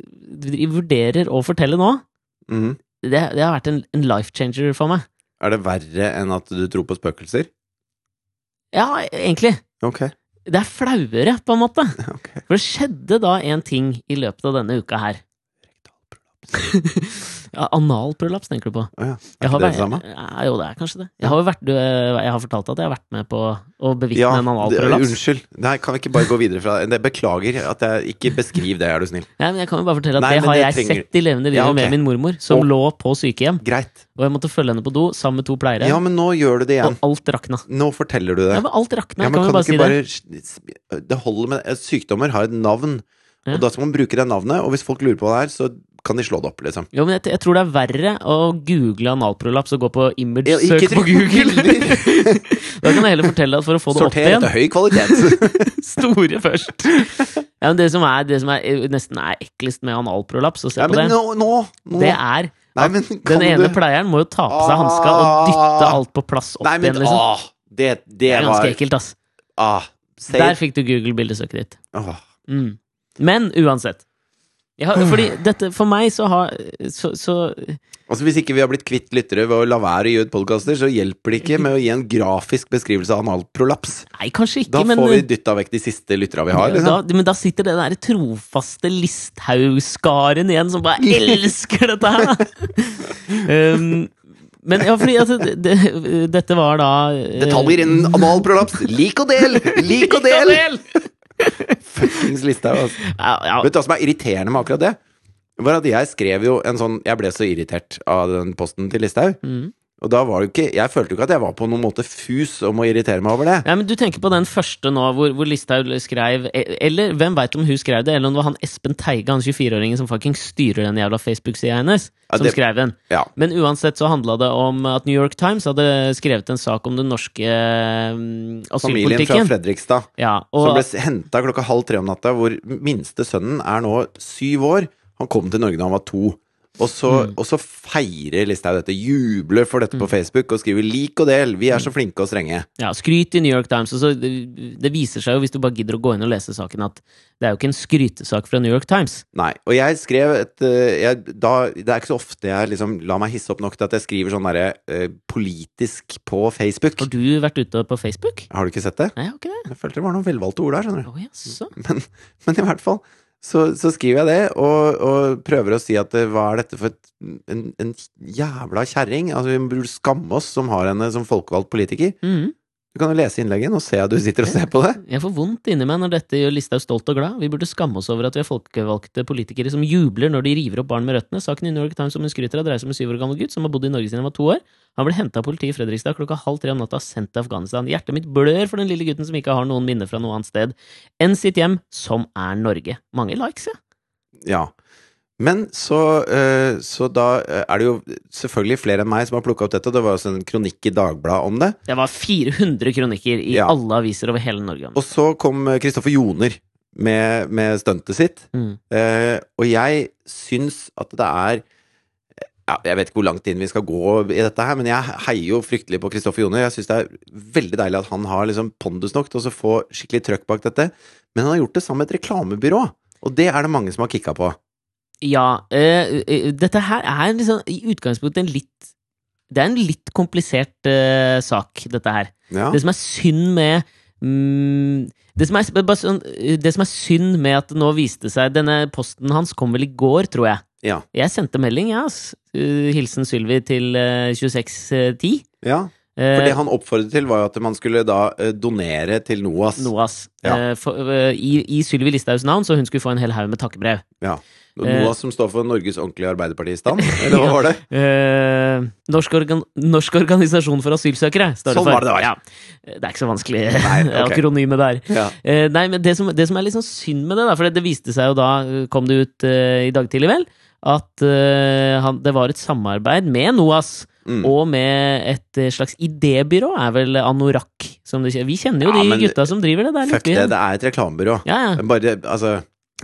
Speaker 2: vurderer å fortelle nå,
Speaker 1: Mhm.
Speaker 2: det, det har vært en, en life changer for meg.
Speaker 1: Er det verre enn at du tror på spøkelser?
Speaker 2: Ja, egentlig.
Speaker 1: Ok.
Speaker 2: Det er flauere, på en måte.
Speaker 1: ok.
Speaker 2: For det skjedde da en ting i løpet av denne uka her. Ja, analprolaps, tenker du på.
Speaker 1: Å ja.
Speaker 2: Jeg
Speaker 1: Er ikke
Speaker 2: har
Speaker 1: det det
Speaker 2: vært-
Speaker 1: samme?
Speaker 2: Ja, jo, det er kanskje det. Jeg har, jo vært, du, eh, jeg har fortalt at jeg har vært med på å bevitne
Speaker 1: Ja,
Speaker 2: en
Speaker 1: det,
Speaker 2: analprolaps.
Speaker 1: unnskyld. Nei, kan vi ikke bare gå videre fra det? Beklager at jeg ikke beskriv det, er du snill.
Speaker 2: Ja, men jeg kan jo bare fortelle at
Speaker 1: Nei,
Speaker 2: det
Speaker 1: men
Speaker 2: har jeg
Speaker 1: det trenger-
Speaker 2: sett i levende livet
Speaker 1: Ja, ok.
Speaker 2: med min mormor, som
Speaker 1: Og-
Speaker 2: lå på sykehjem.
Speaker 1: Greit.
Speaker 2: Og jeg måtte følge henne på do sammen med to pleiere,
Speaker 1: Ja, men nå gjør du det igjen.
Speaker 2: og alt rakna.
Speaker 1: Nå forteller du det.
Speaker 2: Ja, men alt rakna,
Speaker 1: Ja, men
Speaker 2: kan vi
Speaker 1: kan
Speaker 2: bare
Speaker 1: du
Speaker 2: si
Speaker 1: ikke
Speaker 2: det?
Speaker 1: bare s- Det holder med eh, Sykdommer har et navn,
Speaker 2: Ja.
Speaker 1: og da skal man bruke det navnet. Og hvis folk lurer på hva det er, så kan de slå det opp, liksom.
Speaker 2: Jo, men jeg, jeg tror det er verre å google analprolaps og gå på image
Speaker 1: Ja, ikke
Speaker 2: search
Speaker 1: trykk
Speaker 2: på
Speaker 1: på
Speaker 2: Google. da kan jeg heller fortelle at for å få det
Speaker 1: Sorter
Speaker 2: opp
Speaker 1: etter høy kvalitet.
Speaker 2: igjen, store først. Ja, men det som, er, det som er, eh, nesten er eklest med analprolaps, og se
Speaker 1: Nei,
Speaker 2: på
Speaker 1: men
Speaker 2: det,
Speaker 1: nå, nå, nå.
Speaker 2: det er
Speaker 1: Nei, men kan
Speaker 2: Den
Speaker 1: du
Speaker 2: ene
Speaker 1: Ah.
Speaker 2: pleieren må jo ta på seg hanska og dytte alt på plass opp
Speaker 1: Nei, men
Speaker 2: igjen, liksom.
Speaker 1: ah, det, det,
Speaker 2: Det er
Speaker 1: var
Speaker 2: ganske ekkelt, ass.
Speaker 1: ah, say
Speaker 2: Der
Speaker 1: it.
Speaker 2: fikk du Google-bildesøket ditt.
Speaker 1: Åh.
Speaker 2: Mm. Men uansett. Jeg har, fordi dette, for meg så har Så, så
Speaker 1: Altså Hvis ikke vi har blitt kvitt lyttere ved å la være å gi ut podkaster, så hjelper det ikke med å gi en grafisk beskrivelse av analprolaps.
Speaker 2: Nei, kanskje ikke,
Speaker 1: Da
Speaker 2: men
Speaker 1: får vi dytta vekk de siste lytterne vi har.
Speaker 2: Ja,
Speaker 1: Liksom.
Speaker 2: da, men da sitter den der trofaste Listhaug-skaren igjen, som bare elsker dette her! da. um, men ja, fordi altså, det, det, dette var da eh,
Speaker 1: Detaljer innen analprolaps! Lik og del! Lik og del! Fuckings Listhaug, altså.
Speaker 2: Ja, ja,
Speaker 1: Vet du hva som er irriterende med akkurat det? Var at jeg skrev jo en sånn Jeg ble så irritert av den posten til Listhaug.
Speaker 2: Mhm.
Speaker 1: Og da var det jo ikke Jeg følte jo ikke at jeg var på noen måte fus om å irritere meg over det.
Speaker 2: Ja, men Du tenker på den første nå, hvor, hvor Listhaug skrev e- Eller hvem veit om hun skrev det, eller om det var han Espen Teige, han 24-åringen som fucking styrer den jævla Facebook-sida hennes,
Speaker 1: Ja,
Speaker 2: som
Speaker 1: det-
Speaker 2: skrev den.
Speaker 1: Ja.
Speaker 2: Men uansett så handla det om at New York Times hadde skrevet en sak om den norske mm,
Speaker 1: Familien fra
Speaker 2: asylpolitikken.
Speaker 1: Fredrikstad
Speaker 2: Ja,
Speaker 1: som
Speaker 2: og,
Speaker 1: ble henta klokka halv tre om natta, hvor minste sønnen er nå syv år. Han kom til Norge da han var to. Og så,
Speaker 2: Mm.
Speaker 1: og så feirer Listhaug dette, jubler for dette på Facebook og skriver 'lik og del', vi er så flinke og strenge.
Speaker 2: Ja, skryt i New York Times. Og så det, det viser seg jo, hvis du bare gidder å gå inn og lese saken, at det er jo ikke en skrytesak fra New York Times.
Speaker 1: Nei. Og jeg skrev et eh, jeg, da, Det er ikke så ofte jeg liksom lar meg hisse opp nok til at jeg skriver sånn derre eh, politisk på Facebook.
Speaker 2: Har du vært ute på Facebook?
Speaker 1: Har du ikke sett det?
Speaker 2: Nei, jeg har ikke det.
Speaker 1: Jeg følte det var noen velvalgte ord der, skjønner du.
Speaker 2: Å, jaså.
Speaker 1: Men, men i hvert fall så, så skriver jeg det, og, og prøver å si at eh, hva er dette for et, en, en jævla kjerring? Altså, vi burde skamme oss som har henne som folkevalgt politiker.
Speaker 2: Mhm.
Speaker 1: Du kan jo lese innlegget, nå ser jeg at du sitter og ser på det.
Speaker 2: Jeg får vondt inni meg når dette gjør Listhaug stolt og glad. Vi burde skamme oss over at vi er folkevalgte politikere som jubler når de river opp barn med røttene. Saken i New York Times om hun skryter av dreier seg om en syv år gammel gutt som har bodd i Norge siden han var to år. Han ble henta av politiet i Fredrikstad klokka halv tre om natta og sendt til Afghanistan. Hjertet mitt blør for den lille gutten som ikke har noen minner fra noe annet sted enn sitt hjem, som er Norge. Mange likes, ja.
Speaker 1: Ja. Men så, eh, så da eh, er det jo selvfølgelig flere enn meg som har plukka opp dette, og det var også en kronikk i Dagbladet om det.
Speaker 2: Det var 400 kronikker i
Speaker 1: Ja.
Speaker 2: alle aviser over hele Norge. om det.
Speaker 1: Og så kom eh, Kristoffer Joner med, med stuntet sitt,
Speaker 2: Mm.
Speaker 1: eh, og jeg syns at det er ja, Jeg vet ikke hvor langt inn vi skal gå i dette her, men jeg heier jo fryktelig på Kristoffer Joner. Jeg syns det er veldig deilig at han har liksom pondus nok til å få skikkelig trøkk bak dette. Men han har gjort det sammen med et reklamebyrå, og det er det mange som har kicka på.
Speaker 2: Ja, eh, eh, dette her er liksom i utgangspunktet en litt Det er en litt komplisert eh, sak, dette her.
Speaker 1: Ja.
Speaker 2: Det som er synd med mm, det, som er, bare sånn, eh, det som er synd med at det nå viste seg Denne posten hans kom vel i går, tror jeg.
Speaker 1: Ja.
Speaker 2: Jeg sendte melding, jeg, ass. Eh, Hilsen Sylvi til eh, 2610.
Speaker 1: ja.
Speaker 2: Eh,
Speaker 1: For det han oppfordret til, var jo at man skulle da eh, donere til NOAS.
Speaker 2: Noas.
Speaker 1: Ja.
Speaker 2: Eh, for, eh, I, i Sylvi Listhaugs navn, så hun skulle få en hel haug med takkebrev.
Speaker 1: Ja.
Speaker 2: Eh.
Speaker 1: NOAS som står for Norges ordentlige arbeiderpartistand, eller hva var det?
Speaker 2: Eh, norsk, organ Norsk organisasjon for asylsøkere. står
Speaker 1: Sånn
Speaker 2: for.
Speaker 1: var det det var.
Speaker 2: Ja. Det er ikke så vanskelig
Speaker 1: Nei, ok.
Speaker 2: akronyme der.
Speaker 1: Ja.
Speaker 2: Eh, nei, men det som, det som er litt sånn synd med det, da, for det, det viste seg jo da, eh, kom det ut eh, i dag tidlig vel, at eh, han, det var et samarbeid med NOAS.
Speaker 1: Mm.
Speaker 2: Og med et eh, slags idébyrå, er vel Anorakk. Som det, kje- vi kjenner jo
Speaker 1: Ja,
Speaker 2: de
Speaker 1: men-
Speaker 2: gutta som driver det der.
Speaker 1: Fuck
Speaker 2: Lykkebyen.
Speaker 1: det, det er et reklamebyrå.
Speaker 2: Ja, ja.
Speaker 1: Bare, altså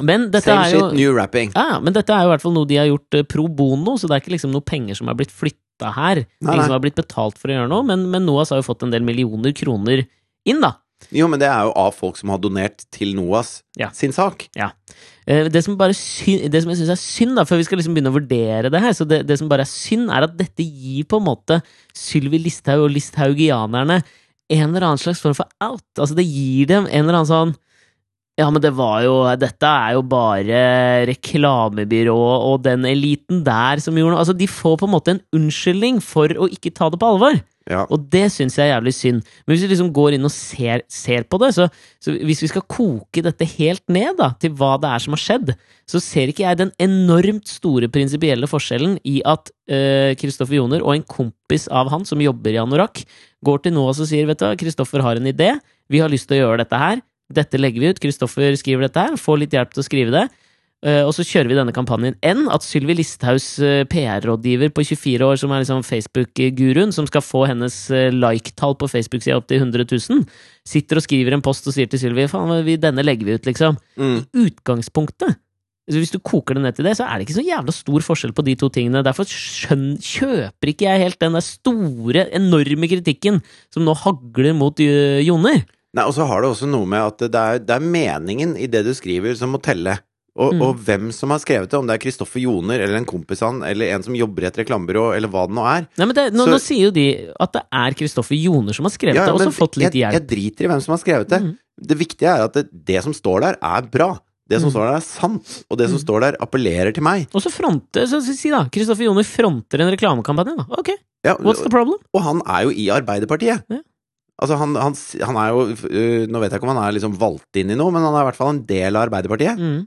Speaker 2: Men dette
Speaker 1: Same
Speaker 2: er jo
Speaker 1: shit, new rapping.
Speaker 2: Ja, ja, men dette er jo i hvert fall noe de har gjort eh, pro bono, så det er ikke liksom noe penger som er blitt flytta her.
Speaker 1: Nei,
Speaker 2: Ting
Speaker 1: nei.
Speaker 2: som har blitt betalt for å gjøre noe, men, men NOAS har jo fått en del millioner kroner inn, da.
Speaker 1: Jo, men det er jo av folk som har donert til NOAS
Speaker 2: Ja.
Speaker 1: sin sak.
Speaker 2: Eh, Det som, bare sy- det som jeg syns er synd, da, før vi skal liksom begynne å vurdere det her, så det, det som bare er synd, er at dette gir på en måte Sylvi Listhaug og listhaugianerne en eller annen slags form for out. Altså, det gir dem en eller annen sånn ja, men det var jo Dette er jo bare reklamebyrået og den eliten der som gjorde noe Altså, de får på en måte en unnskyldning for å ikke ta det på alvor.
Speaker 1: Ja.
Speaker 2: Og det syns jeg er jævlig synd. Men hvis vi liksom går inn og ser, ser på det, så, så hvis vi skal koke dette helt ned da, til hva det er som har skjedd, så ser ikke jeg den enormt store prinsipielle forskjellen i at Kristoffer Joner og en kompis av han som jobber i Anorakk, går til NOAS og sier vet du hva, Kristoffer har en idé, vi har lyst til å gjøre dette her, dette legger vi ut, Kristoffer skriver dette her, får litt hjelp til å skrive det. eh, og så kjører vi denne kampanjen enn at Sylvi Listhaugs eh, PR-rådgiver på 24 år, som er liksom Facebook-guruen, som skal få hennes eh, like-tall på Facebook-sida opp til 100 000, sitter og skriver en post og sier til Sylvi faen, vi- denne legger vi ut, liksom
Speaker 1: Mm.
Speaker 2: utgangspunktet altså Hvis du koker det ned til det, så er det ikke så jævla stor forskjell på de to tingene. Derfor skjønn, kjøper ikke jeg helt den der store, enorme kritikken som nå hagler mot øh, Joner.
Speaker 1: Nei, og så har det også noe med at det er, det er meningen i det du skriver som må telle. Og,
Speaker 2: Mm.
Speaker 1: og hvem som har skrevet det, om det er Kristoffer Joner eller en kompis han, eller en som jobber i et reklamebyrå, eller hva det nå er.
Speaker 2: Nei, men det, nå,
Speaker 1: Så-
Speaker 2: nå sier jo de at det er Kristoffer Joner som har skrevet
Speaker 1: Ja,
Speaker 2: det, og
Speaker 1: men
Speaker 2: som har fått litt
Speaker 1: jeg,
Speaker 2: hjelp.
Speaker 1: jeg driter i hvem som har skrevet det.
Speaker 2: Mhm.
Speaker 1: Det viktige er at det, det som står der, er bra. Det som
Speaker 2: Mm.
Speaker 1: står der, er sant. Og det som
Speaker 2: Mm.
Speaker 1: står der, appellerer til meg.
Speaker 2: Og så fronter så, så, Si da, Kristoffer Joner fronter en reklamekampanje. da. Ok,
Speaker 1: Ja,
Speaker 2: what's the problem?
Speaker 1: og han er jo i Arbeiderpartiet.
Speaker 2: Ja.
Speaker 1: Altså, han, han, s- han er jo øh, Nå vet jeg ikke om han er liksom valgt inn i noe, men han er i hvert fall en del av Arbeiderpartiet.
Speaker 2: Mm.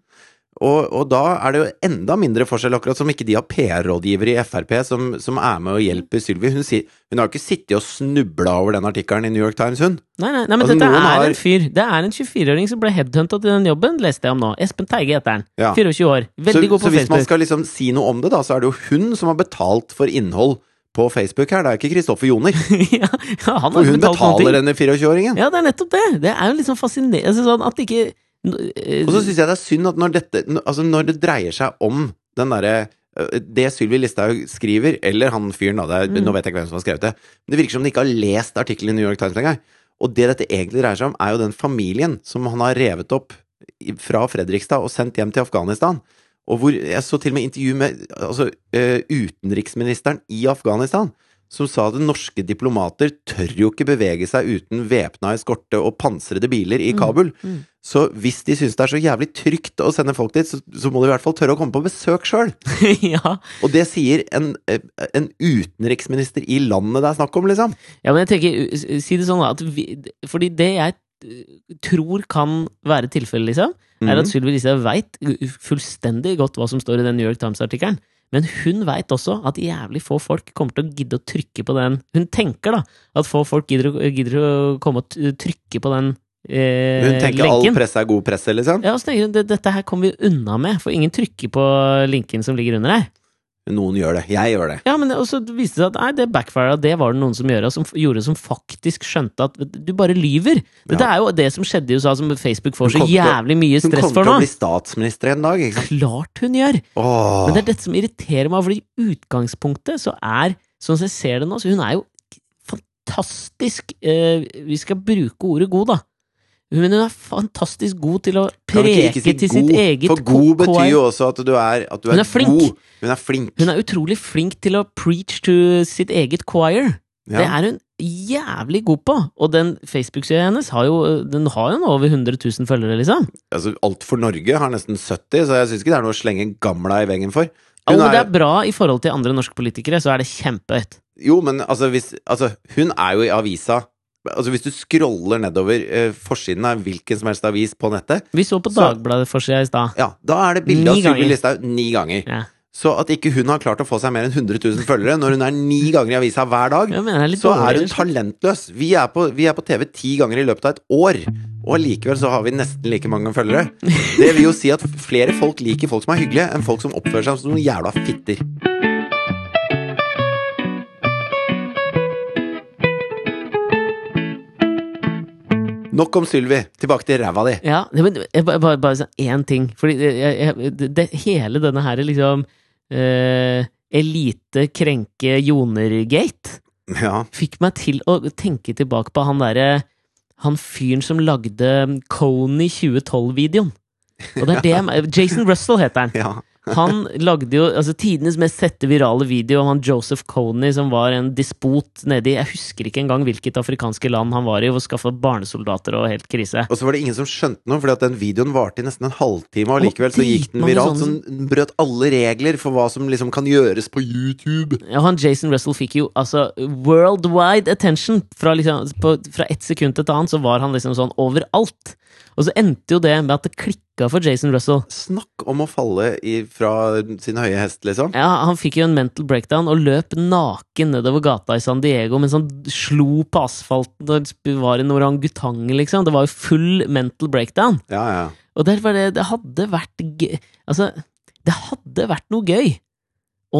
Speaker 1: Og, og da er det jo enda mindre forskjell, akkurat som ikke de har PR-rådgivere i Frp som, som er med og hjelper Sylvi. Hun, sier- hun har jo ikke sittet og snubla over den artikkelen i New York Times, hun.
Speaker 2: Nei, nei, nei, men
Speaker 1: Altså,
Speaker 2: dette
Speaker 1: noen
Speaker 2: er
Speaker 1: har-
Speaker 2: en fyr. Det er en 24-åring som ble headhunta til den jobben, leste jeg om nå. Espen Teige heter han.
Speaker 1: Ja.
Speaker 2: 24 år.
Speaker 1: Så,
Speaker 2: Veldig god
Speaker 1: så
Speaker 2: på
Speaker 1: hvis man
Speaker 2: Facebook.
Speaker 1: skal liksom si noe om det, da, så er det jo hun som har betalt for innhold på Facebook her. Det er ikke Kristoffer Joner.
Speaker 2: ja, ja, han har
Speaker 1: For
Speaker 2: ikke
Speaker 1: hun
Speaker 2: betalt noen ting.
Speaker 1: betaler denne 24-åringen.
Speaker 2: Ja, det er nettopp det! Det er jo liksom fascinerende altså, sånn at det ikke
Speaker 1: Og så syns jeg det er synd at når dette n- Altså, når det dreier seg om den derre eh, det Sylvi Listhaug skriver, eller han fyren, da, det er, nå vet jeg ikke hvem som har skrevet det, men det virker som han ikke har lest artikkelen i New York Times engang. Og det dette egentlig dreier seg om, er jo den familien som han har revet opp i- fra Fredrikstad og sendt hjem til Afghanistan. Og hvor jeg så til og med intervju med altså, eh, utenriksministeren i Afghanistan, som sa at norske diplomater tør jo ikke bevege seg uten væpna eskorte og pansrede biler i Kabul. Så hvis de syns det er så jævlig trygt å sende folk dit, så, så må de i hvert fall tørre å komme på besøk sjøl.
Speaker 2: ja.
Speaker 1: Og det sier en, eh, en utenriksminister i landet det er snakk om, liksom.
Speaker 2: Ja, men jeg tenker, uh, si det sånn da, at vi, fordi det jeg uh, tror kan være tilfellet, liksom, er
Speaker 1: Mm. Mhm.
Speaker 2: at Sylvi Listhaug veit fullstendig godt hva som står i den New York Times-artikkelen. Men hun veit også at jævlig få folk kommer til å gidde å trykke på den. Hun tenker da at få folk gidder, å- gidder å komme og t- trykke på den eh,
Speaker 1: Hun tenker all
Speaker 2: lenken.
Speaker 1: presse er god presse, liksom.
Speaker 2: Ja, og så tenker hun, det- Dette her kommer vi unna med, for ingen trykker på linken som ligger under her.
Speaker 1: Noen gjør det. Jeg gjør det.
Speaker 2: Ja, men det- og så viste det seg at nei, det backfira, det var det noen som gjorde, som, f- gjorde som faktisk skjønte at vet du du bare lyver. Dette
Speaker 1: Ja.
Speaker 2: er jo det som skjedde i USA, som Facebook får
Speaker 1: Hun
Speaker 2: så
Speaker 1: kommer til å-
Speaker 2: jævlig mye
Speaker 1: Hun
Speaker 2: stress
Speaker 1: kommer
Speaker 2: for
Speaker 1: til å
Speaker 2: nå.
Speaker 1: bli statsminister en dag, ikke sant.
Speaker 2: Klart hun gjør!
Speaker 1: Åh.
Speaker 2: Men det er dette som irriterer meg, for i utgangspunktet så er, sånn som jeg ser det nå, så hun er jo fantastisk eh, Vi skal bruke ordet god, da. Men hun er fantastisk god til å
Speaker 1: Kan vi
Speaker 2: preke
Speaker 1: ikke- ikke si
Speaker 2: til sitt
Speaker 1: god?
Speaker 2: eget
Speaker 1: For god
Speaker 2: K-
Speaker 1: betyr
Speaker 2: KR.
Speaker 1: jo også at du er, at du
Speaker 2: Hun er flink.
Speaker 1: god. Hun er flink.
Speaker 2: Hun er utrolig flink til å preach to sitt eget choir.
Speaker 1: Ja.
Speaker 2: Det er hun jævlig god på! Og den Facebook-sida hennes har jo, den har jo nå over 100 000 følgere, liksom.
Speaker 1: altså, alt for Norge har nesten 70, så jeg syns ikke det er noe å slenge gamla i veggen for.
Speaker 2: Jo,
Speaker 1: Hun
Speaker 2: men det
Speaker 1: er,
Speaker 2: er bra i forhold til andre norske politikere, så er det kjempehøyt.
Speaker 1: jo, men altså, hvis, altså, hun er jo i avisa Altså, hvis du scroller nedover eh, forsiden av hvilken som helst avis på nettet,
Speaker 2: Vi så på
Speaker 1: Så-
Speaker 2: Dagbladet-forsida i stad.
Speaker 1: ja, da er det bilde av
Speaker 2: Ni
Speaker 1: Sylvi
Speaker 2: ganger.
Speaker 1: Listhaug ni ganger.
Speaker 2: Ja.
Speaker 1: Så at ikke hun har klart å få seg mer enn 100 000 følgere når hun er ni ganger i avisa hver dag,
Speaker 2: Jeg mener, det er litt
Speaker 1: så er
Speaker 2: dårlig.
Speaker 1: hun talentløs. Vi er, på, vi er på TV ti ganger i løpet av et år, og allikevel så har vi nesten like mange følgere. Det vil jo si at flere folk liker folk som er hyggelige, enn folk som oppfører seg som noen jævla fitter. Nok om Sylvi. Tilbake til ræva di.
Speaker 2: Ja, nei, men jeg, bare, bare, bare sånn én ting. Fordi jeg, jeg, det, det, hele denne her liksom eh, Elite krenke Joner-gate
Speaker 1: Ja.
Speaker 2: fikk meg til å tenke tilbake på han derre Han fyren som lagde Kony 2012-videoen. Og det er det jeg, Jason Russell heter han.
Speaker 1: ja.
Speaker 2: Han lagde jo altså, tidenes mest sette virale video om han Joseph Kony som var en despot nedi Jeg husker ikke engang hvilket afrikanske land han var i, og skaffa barnesoldater og helt krise.
Speaker 1: Og så var det ingen som skjønte noe, fordi at den videoen varte i nesten en halvtime, og likevel så gikk den
Speaker 2: dritmange
Speaker 1: viralt. Så
Speaker 2: sånne-
Speaker 1: den brøt alle regler for hva som liksom kan gjøres på YouTube.
Speaker 2: Ja, han Jason Russell fikk jo altså worldwide attention. Fra, liksom, på, fra ett sekund til et annet så var han liksom sånn overalt. Og så endte jo det med at det klikka for Jason Russell.
Speaker 1: Snakk om å falle i, fra sin høye hest, liksom.
Speaker 2: Ja, Han fikk jo en mental breakdown og løp naken nedover gata i San Diego mens han slo på asfalten og sp- var en orangutang, liksom. Det var jo full mental breakdown.
Speaker 1: Ja, ja.
Speaker 2: Og derfor var det, det hadde vært gøy Altså, det hadde vært noe gøy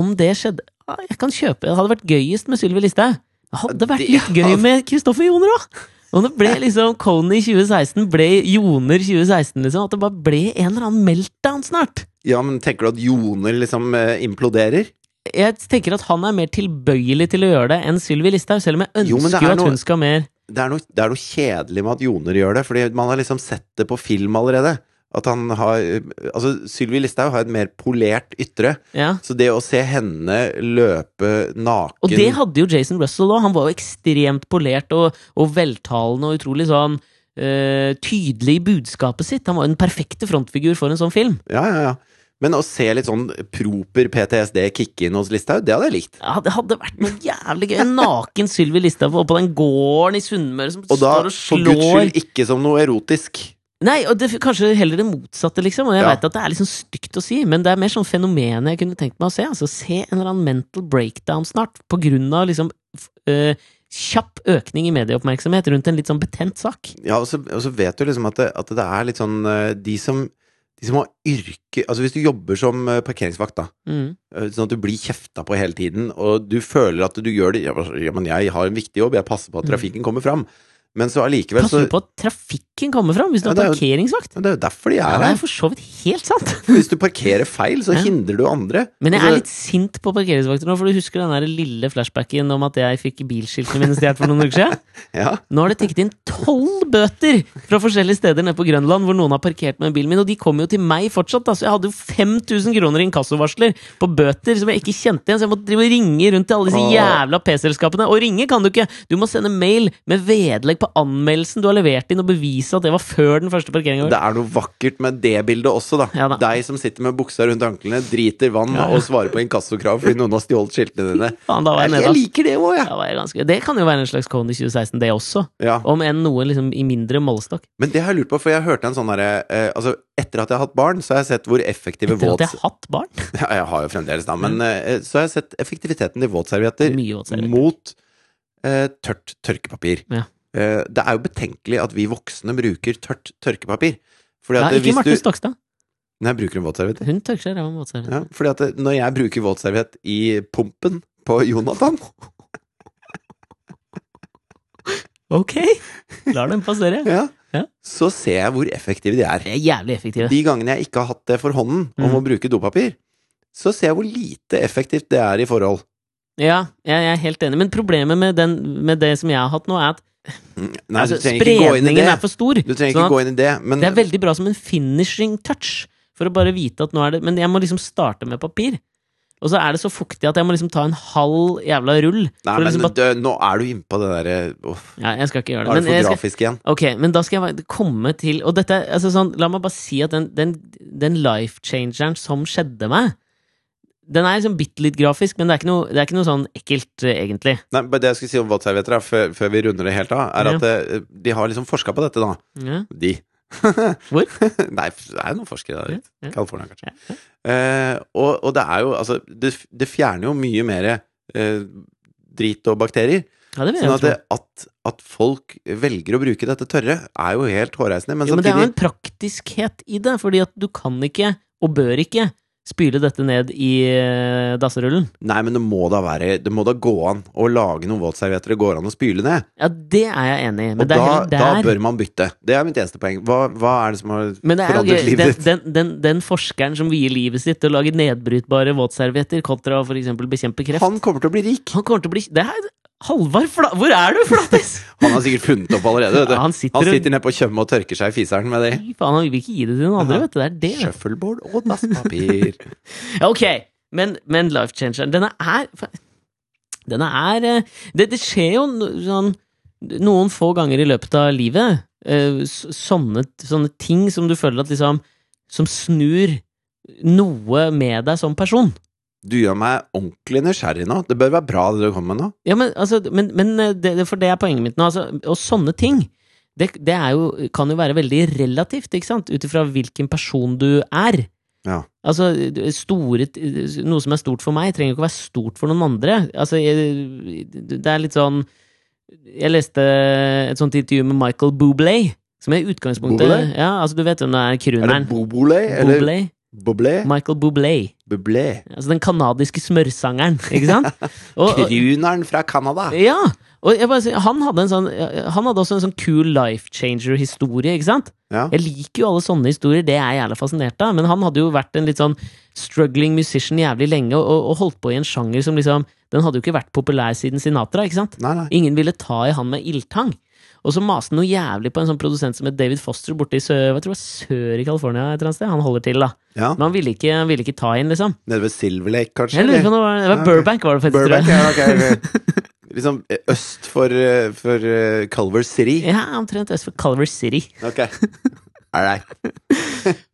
Speaker 2: om det skjedde. Ja, Jeg kan kjøpe Det hadde vært gøyest med Sylvi Listhaug. Det hadde vært
Speaker 1: Det
Speaker 2: litt gøy
Speaker 1: hadde-
Speaker 2: med Kristoffer Joner òg! Om det ble liksom Kony 2016 ble Joner 2016, liksom. At det bare ble en eller annen meltdown snart.
Speaker 1: Ja, men tenker du at joner liksom eh, imploderer?
Speaker 2: Jeg tenker at han er mer tilbøyelig til å gjøre det enn Sylvi Listhaug, selv om jeg
Speaker 1: Jo, men det
Speaker 2: ønsker
Speaker 1: er
Speaker 2: jo at
Speaker 1: noe-
Speaker 2: hun skal mer
Speaker 1: Det er, noe, det er noe kjedelig med at joner gjør det, fordi man har liksom sett det på film allerede. At han har Altså, Sylvi Listhaug har et mer polert ytre,
Speaker 2: ja.
Speaker 1: så det å se henne løpe naken
Speaker 2: Og det hadde jo Jason Russell òg. Han var jo ekstremt polert og, og veltalende og utrolig sånn eh, tydelig i budskapet sitt. Han var jo den perfekte frontfigur for en sånn film.
Speaker 1: Ja, ja, ja. Men å se litt sånn proper PTSD kicke inn hos Listhaug, det hadde jeg likt.
Speaker 2: Ja, Det hadde vært noe jævlig gøy. En naken Sylvi Listhaug oppå den gården i Sunnmøre som
Speaker 1: Og da,
Speaker 2: står og
Speaker 1: for guds
Speaker 2: slår
Speaker 1: skyld, ikke som noe erotisk.
Speaker 2: Nei, og det, Kanskje heller det motsatte, liksom. Og jeg
Speaker 1: Ja.
Speaker 2: vet at det er liksom stygt å si, men det er mer sånn fenomenet jeg kunne tenkt meg å se. Altså Se en eller annen mental breakdown snart, på grunn av liksom f- eh, kjapp økning i medieoppmerksomhet rundt en litt sånn betent sak.
Speaker 1: Ja, og så, og så vet du liksom at det, at det er litt sånn eh, De som, de som har yrke Altså hvis du jobber som eh, parkeringsvakt, da.
Speaker 2: Mm.
Speaker 1: eh, Sånn at du blir kjefta på hele tiden, og du føler at du gjør det Ja, men jeg har en viktig jobb, jeg passer på at trafikken kommer fram. Men så allikevel
Speaker 2: Pass
Speaker 1: så
Speaker 2: jo Mm. på at trafikken kommer fram hvis du
Speaker 1: Ja,
Speaker 2: har
Speaker 1: det er jo-
Speaker 2: parkeringsvakt.
Speaker 1: Men Det er jo derfor de
Speaker 2: Ja,
Speaker 1: er
Speaker 2: det er
Speaker 1: her.
Speaker 2: for så vidt helt sant.
Speaker 1: Hvis du parkerer feil, så
Speaker 2: Ja.
Speaker 1: hindrer du andre.
Speaker 2: Men jeg
Speaker 1: Altså,
Speaker 2: er litt sint på parkeringsvakter nå, for du husker den der lille flashbacken om at jeg fikk bilskiltene mine stjålet for noen uker siden?
Speaker 1: ja.
Speaker 2: Nå har det tikket inn tolv bøter fra forskjellige steder nede på Grønland hvor noen har parkert med bilen min, og de kom jo til meg fortsatt. Da. Så jeg hadde jo 5000 kroner i inkassovarsler på bøter som jeg ikke kjente igjen, så jeg måtte drive og ringe rundt til alle disse
Speaker 1: Åh.
Speaker 2: jævla P-selskapene. Og ringe kan du ikke! Du må sende mail med vedlegg på anmeldelsen du har levert inn, og bevise at det var før den første parkeringa vår.
Speaker 1: Det er noe vakkert med det bildet også, da.
Speaker 2: Ja da.
Speaker 1: Deg som sitter med buksa rundt anklene, driter vann og svarer på inkassokrav fordi noen har stjålet skiltene dine.
Speaker 2: Faen, da var jeg
Speaker 1: Jeg,
Speaker 2: nede,
Speaker 1: jeg
Speaker 2: ass.
Speaker 1: liker det òg, jeg.
Speaker 2: Da var jeg ganske... Det kan jo være en slags Kony 2016, det også.
Speaker 1: Ja.
Speaker 2: Om enn noe liksom i mindre målestokk.
Speaker 1: Men det har jeg lurt på, for jeg hørte en sånn derre eh, Altså, etter at jeg har hatt barn, så har jeg sett hvor effektive
Speaker 2: Etter at
Speaker 1: våt...
Speaker 2: jeg har hatt barn.
Speaker 1: Ja, jeg har jo fremdeles, da, men eh, så har jeg sett effektiviteten til våtservietter
Speaker 2: Mye våtservietter.
Speaker 1: mot eh, tørt tørkepapir.
Speaker 2: Ja.
Speaker 1: Eh, det er jo betenkelig at vi voksne bruker tørt tørkepapir. Fordi
Speaker 2: Ja,
Speaker 1: at
Speaker 2: ikke
Speaker 1: hvis
Speaker 2: Marte
Speaker 1: du
Speaker 2: Stokstad.
Speaker 1: Nei, jeg bruker en våtserviett.
Speaker 2: Hun tørker seg i ræva med våtserviett.
Speaker 1: Ja, fordi at det- når jeg bruker våtserviett i pumpen på Jonathan,
Speaker 2: Ok, lar dem passere.
Speaker 1: ja,
Speaker 2: Ja.
Speaker 1: så ser jeg hvor effektive de er.
Speaker 2: De er jævlig effektive.
Speaker 1: De gangene jeg ikke har hatt det for hånden om
Speaker 2: Mhm.
Speaker 1: å bruke dopapir, så ser jeg hvor lite effektivt det er i forhold.
Speaker 2: Ja, jeg jeg er helt enig. Men problemet med, den, med det som jeg har hatt nå, er at
Speaker 1: Mm, Nei,
Speaker 2: altså,
Speaker 1: du trenger ikke gå inn i
Speaker 2: spredningen
Speaker 1: det.
Speaker 2: er for stor.
Speaker 1: Du trenger
Speaker 2: Sånn
Speaker 1: ikke
Speaker 2: at
Speaker 1: gå inn i det, men
Speaker 2: Det er veldig bra som en finishing touch, for å bare vite at nå er det Men jeg må liksom starte med papir. Og så er det så fuktig at jeg må liksom ta en halv jævla rull.
Speaker 1: Nei,
Speaker 2: for å
Speaker 1: men
Speaker 2: liksom bare,
Speaker 1: dø- nå er du innpå det derre Uff,
Speaker 2: ja, jeg skal ikke
Speaker 1: er
Speaker 2: gjøre
Speaker 1: det
Speaker 2: det. Men
Speaker 1: for
Speaker 2: jeg skal,
Speaker 1: grafisk igjen?
Speaker 2: Ok, men da skal jeg bare komme til Og dette, altså sånn, la meg bare si at den, den, den life-changeren som skjedde meg Den er liksom bitte litt grafisk, men det er ikke noe, det er ikke noe sånn ekkelt, eh, egentlig.
Speaker 1: Nei, men Det jeg skulle si om våtservietter, da, før, før vi runder det helt av, er
Speaker 2: Ja.
Speaker 1: at eh, de har liksom forska på dette, da.
Speaker 2: Ja,
Speaker 1: De.
Speaker 2: Hvor?
Speaker 1: Nei, det er jo noen forskere der.
Speaker 2: ja, ja.
Speaker 1: California, kanskje.
Speaker 2: Ja,
Speaker 1: Eh, og, og det er jo Altså, det, det fjerner jo mye mer eh, drit og bakterier.
Speaker 2: ja det vil jeg
Speaker 1: Sånn
Speaker 2: jo
Speaker 1: at,
Speaker 2: tro.
Speaker 1: det, at, at folk velger å bruke dette tørre, er jo helt hårreisende. Men
Speaker 2: Jo, men det er jo
Speaker 1: samtidig
Speaker 2: en praktiskhet i det, fordi at du kan ikke, og bør ikke, spyle dette ned i eh, dasserullen.
Speaker 1: Nei, men det må da være Det må da gå an å lage noen våtservietter det går an å spyle ned.
Speaker 2: Ja, det er jeg enig i, men
Speaker 1: Og da,
Speaker 2: det er heller
Speaker 1: da
Speaker 2: der
Speaker 1: bør man bytte. Det er mitt eneste poeng. Hva, hva er det som har
Speaker 2: Men det er jo
Speaker 1: forandret
Speaker 2: gøy.
Speaker 1: livet
Speaker 2: Den,
Speaker 1: ditt?
Speaker 2: den, den, den forskeren som vier livet sitt til å lage nedbrytbare våtservietter kontra for eksempel bekjempe kreft
Speaker 1: Han kommer til å bli rik!
Speaker 2: Han kommer til å bli Det er Halvard Fla... Hvor er du, Flattis?
Speaker 1: Han har sikkert funnet opp allerede. Vet
Speaker 2: Ja,
Speaker 1: du.
Speaker 2: han sitter
Speaker 1: Han
Speaker 2: og-
Speaker 1: sitter nede på Tjøme og tørker seg i fiseren med det.
Speaker 2: Fy faen, han vil ikke gi det til noen andre,
Speaker 1: Ja.
Speaker 2: vet du. Det er det. vet
Speaker 1: Shuffleboard og dasspapir.
Speaker 2: du. Ja, ok, men, men life changeren, denne er Denne er eh, Det, det skjer jo no- sånn noen få ganger i løpet av livet eh, s- sånne, sånne ting som du føler at liksom Som snur noe med deg som person.
Speaker 1: Du gjør meg ordentlig nysgjerrig nå. Det bør være bra, det du kommer med nå.
Speaker 2: Ja, men, altså, men, men eh, det, det- for det er poenget mitt nå. Altså, og sånne ting det, det er jo, kan jo være veldig relativt, ikke sant? Ut ifra hvilken person du er.
Speaker 1: Ja.
Speaker 2: Altså, du- store, t- noe som er stort for meg, trenger jo ikke å være stort for noen andre. Altså, jeg, det er litt sånn Jeg leste et sånt intervju med Michael Bublé, som er i utgangspunktet
Speaker 1: Bublé?
Speaker 2: Ja, altså, du vet hvem det er,
Speaker 1: Er det
Speaker 2: crooneren.
Speaker 1: Bobolé eller
Speaker 2: Bublé?
Speaker 1: Boblé?
Speaker 2: Michael Bublé.
Speaker 1: Bublé.
Speaker 2: Altså den kanadiske smørsangeren, ikke sant? Og- og-
Speaker 1: Kruneren fra Canada.
Speaker 2: ja, og jeg bare, sier, han, hadde en sånn, han hadde også en sånn cool life changer-historie, ikke sant?
Speaker 1: Ja.
Speaker 2: Jeg liker jo alle sånne historier, det er jeg jævla fascinert av, men han hadde jo vært en litt sånn struggling musician jævlig lenge, og, og holdt på i en sjanger som liksom, den hadde jo ikke vært populær siden Sinatra, ikke sant?
Speaker 1: Nei, nei.
Speaker 2: Ingen ville ta i han med ildtang. Og så maste han noe jævlig på en sånn produsent som het David Foster borte i sør, jeg tror det var sør i California et eller annet sted, han holder til da.
Speaker 1: Ja.
Speaker 2: Men han ville ikke, han ville ikke ta inn, liksom.
Speaker 1: Nede ved Silver Lake, kanskje?
Speaker 2: Jeg lurer
Speaker 1: eller?
Speaker 2: på om det var, det
Speaker 1: Ja,
Speaker 2: var
Speaker 1: ok.
Speaker 2: Burbank, var det faktisk, tror jeg.
Speaker 1: Burbank, ja, ok, ok. Liksom eh, øst for, eh, for eh, Culver City.
Speaker 2: Ja, omtrent øst for Culver City.
Speaker 1: Ok. All right.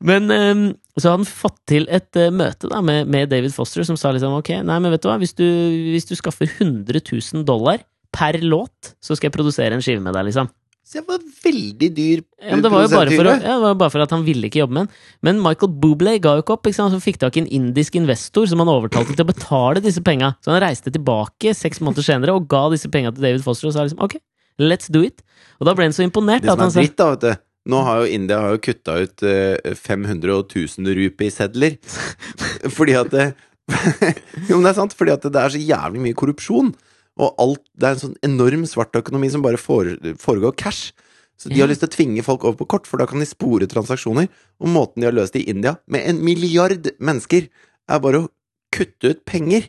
Speaker 2: Men ehm, så hadde han fått til et eh, møte da, med, med David Foster, som sa liksom ok, nei, men vet du hva, hvis du, hvis du skaffer 100 000 dollar per låt, så skal jeg produsere en skive med deg, liksom.
Speaker 1: Så jeg var veldig dyr
Speaker 2: Ja, men det var jo bare for, å,
Speaker 1: produsenttype.
Speaker 2: ja, det var bare for at han ville ikke jobbe med den. Men Michael Bublé ga jo ikke opp. Ikke sant? Så fikk tak i en indisk investor som han overtalte til å betale disse penga. Så han reiste tilbake seks måneder senere og ga disse penga til David Foster og sa liksom ok, let's do it. Og da ble han så imponert.
Speaker 1: Det
Speaker 2: at
Speaker 1: som
Speaker 2: han
Speaker 1: er
Speaker 2: sa,
Speaker 1: dritt, da, vet du Nå har jo India har jo kutta ut eh, 500 og 1000 rupi-sedler. Fordi at det, Jo, men det er sant. Fordi at det er så jævlig mye korrupsjon. Og alt, det er en sånn enorm svart økonomi som bare fore, foregår cash. Så de
Speaker 2: Ja.
Speaker 1: har lyst til å tvinge folk over på kort, for da kan de spore transaksjoner. Og måten de har løst det i India, med en milliard mennesker, er bare å kutte ut penger.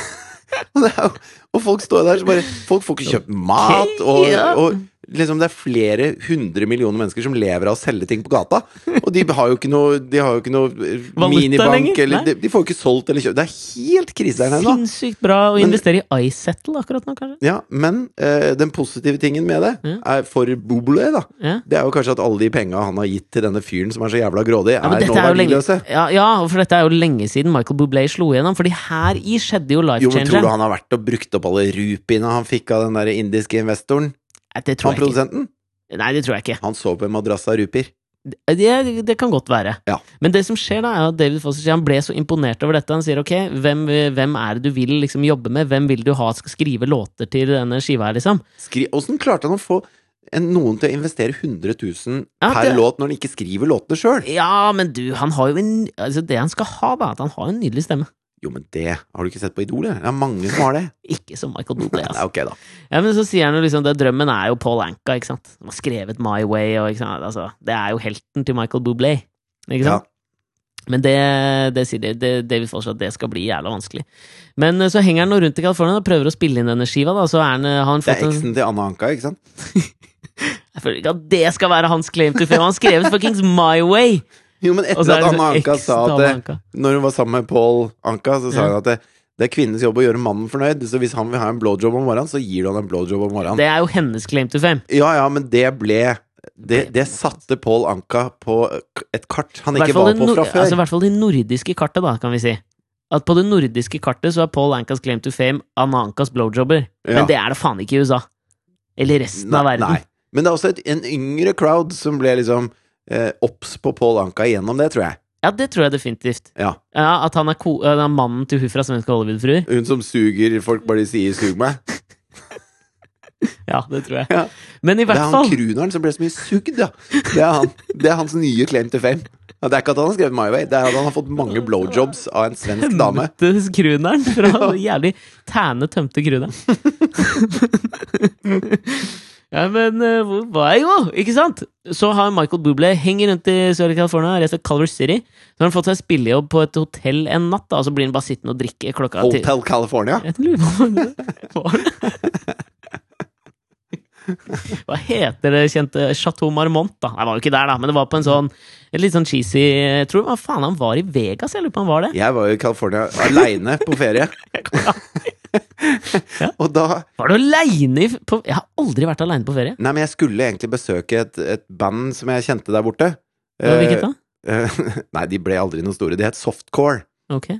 Speaker 1: og, det er, jo- og folk står der så bare Folk får ikke kjøpt mat, og,
Speaker 2: ja.
Speaker 1: og liksom det er flere hundre millioner mennesker som lever av å selge ting på gata. Og de har jo ikke noe, de har jo ikke noe eh,
Speaker 2: Valuta
Speaker 1: minibank,
Speaker 2: lenger,
Speaker 1: eller
Speaker 2: nei.
Speaker 1: de, de får jo ikke solgt eller kjøpt. Det er helt krise der nede nå.
Speaker 2: Sinnssykt bra å
Speaker 1: Men-
Speaker 2: investere i iSettle akkurat nå, kanskje.
Speaker 1: Ja, men eh, den positive tingen med det,
Speaker 2: Ja.
Speaker 1: er for Bobole, da,
Speaker 2: Ja.
Speaker 1: det er jo kanskje at alle de penga han har gitt til denne fyren som er så jævla grådig,
Speaker 2: Ja, men
Speaker 1: er
Speaker 2: dette
Speaker 1: nå
Speaker 2: er jo lenge,
Speaker 1: verdiløse.
Speaker 2: ja, ja, for dette er jo lenge siden Michael Bublé slo igjennom. Fordi her i skjedde jo life
Speaker 1: Jo, men tror du
Speaker 2: changeren.
Speaker 1: han har vært og brukt opp alle rupiene han fikk av den der indiske investoren?
Speaker 2: Nei, Det tror
Speaker 1: Han
Speaker 2: jeg ikke.
Speaker 1: produsenten?
Speaker 2: Nei, det tror jeg ikke.
Speaker 1: Han sov på en madrass av rupier.
Speaker 2: Det, det kan godt være.
Speaker 1: Ja.
Speaker 2: Men det som skjer da, er at David Foster sier han ble så imponert over dette. Han sier ok, hvem, hvem er det du vil liksom jobbe med? Hvem vil du ha skal skrive låter til denne skiva her, liksom?
Speaker 1: Skri Hvordan klarte han å få en, noen til å investere 100 000
Speaker 2: Ja,
Speaker 1: per
Speaker 2: det-
Speaker 1: låt når han ikke skriver låtene sjøl?
Speaker 2: Ja, men du, han har jo en Altså, det han skal ha, da, at han har en nydelig stemme.
Speaker 1: Jo, men det har du ikke sett på Idol, eller? Det er mange som har det.
Speaker 2: Ikke som Michael Bublé,
Speaker 1: Nei,
Speaker 2: altså.
Speaker 1: ok, da.
Speaker 2: Ja, men så sier han jo liksom det, drømmen er jo Paul Anka, ikke sant? Han har skrevet My Way, og ikke sant? Altså, det er jo helten til Michael Bublé, ikke sant? Men det, det sier de- det, David Foster at det skal bli jævla vanskelig. Men eh, så henger han nå rundt i California og prøver å spille inn denne skiva, da, så er han, eh, har han
Speaker 1: Det er
Speaker 2: fått en
Speaker 1: eksen til Anna Anka, ikke sant?
Speaker 2: Jeg føler ikke at det skal være hans claim to fame! Han har skrevet fuckings My Way!
Speaker 1: Jo, men
Speaker 2: Og så
Speaker 1: etter at
Speaker 2: er det så
Speaker 1: Anna Anka
Speaker 2: eksen
Speaker 1: sa
Speaker 2: til
Speaker 1: at
Speaker 2: Anna
Speaker 1: det,
Speaker 2: Anka.
Speaker 1: Når hun var sammen med Paul Anka, så sa
Speaker 2: Ja.
Speaker 1: hun at det, det er kvinnens jobb å gjøre mannen fornøyd, så hvis han vil ha en blowjob om morgenen, så gir du han en blowjob om morgenen.
Speaker 2: Det er jo hennes claim to fame.
Speaker 1: Ja, ja, men det ble Det, det satte Paul Anka på et kart han
Speaker 2: I hvert
Speaker 1: ikke
Speaker 2: fall
Speaker 1: var
Speaker 2: det
Speaker 1: på
Speaker 2: nor-
Speaker 1: fra
Speaker 2: Altså, I
Speaker 1: før.
Speaker 2: hvert fall det nordiske kartet, da, kan vi si. At på det nordiske kartet så er Paul Ankas claim to fame Anna Ankas blowjobber.
Speaker 1: Ja.
Speaker 2: Men det er det faen ikke i USA. Eller resten av
Speaker 1: Nei,
Speaker 2: verden.
Speaker 1: nei. Men det er også et, en yngre crowd som ble liksom eh, obs på Paul Anka gjennom det, tror jeg.
Speaker 2: Ja, det tror jeg definitivt.
Speaker 1: Ja.
Speaker 2: Ja, At han er, ko han er mannen til hun fra Svenske Hollywood-fruer.
Speaker 1: Hun som suger folk bare de sier 'sug meg'.
Speaker 2: Ja, det tror jeg.
Speaker 1: Ja.
Speaker 2: Men
Speaker 1: Det
Speaker 2: i
Speaker 1: er
Speaker 2: hvert
Speaker 1: han
Speaker 2: fall
Speaker 1: crooneren som ble så mye sugd, ja. Det er, han, det er hans nye claim to fame. Ja, det er ikke at han har skrevet My Way, det er at han har fått mange blowjobs av en svensk dame.
Speaker 2: Tømte kruneren fra den jævlig tæne tømte kruneren. ja, men eh, hvor var jeg jo? Ikke sant? Så har Michael Bublé henger rundt i Sør-California, reist til Culver City. Så har han fått seg spillejobb på et hotell en natt, da, og så blir han bare sittende og drikke klokka til-
Speaker 1: Hotel California.
Speaker 2: Jeg lurer på om det var det. Hva heter det kjente Chateau Marmont, da? Nei, det var jo ikke der, da, men det var på en sånn en litt sånn cheesy Jeg tror hva faen han var i Vegas, jeg lurer på om han var det.
Speaker 1: Jeg var jo i California aleine på ferie, og da
Speaker 2: Var du aleine på Jeg har aldri vært aleine på ferie.
Speaker 1: Nei, men jeg skulle egentlig besøke et, et band som jeg kjente der borte.
Speaker 2: Ja, Hvilket da?
Speaker 1: Eh, nei, de ble aldri noe store. De het Softcore.
Speaker 2: Ok.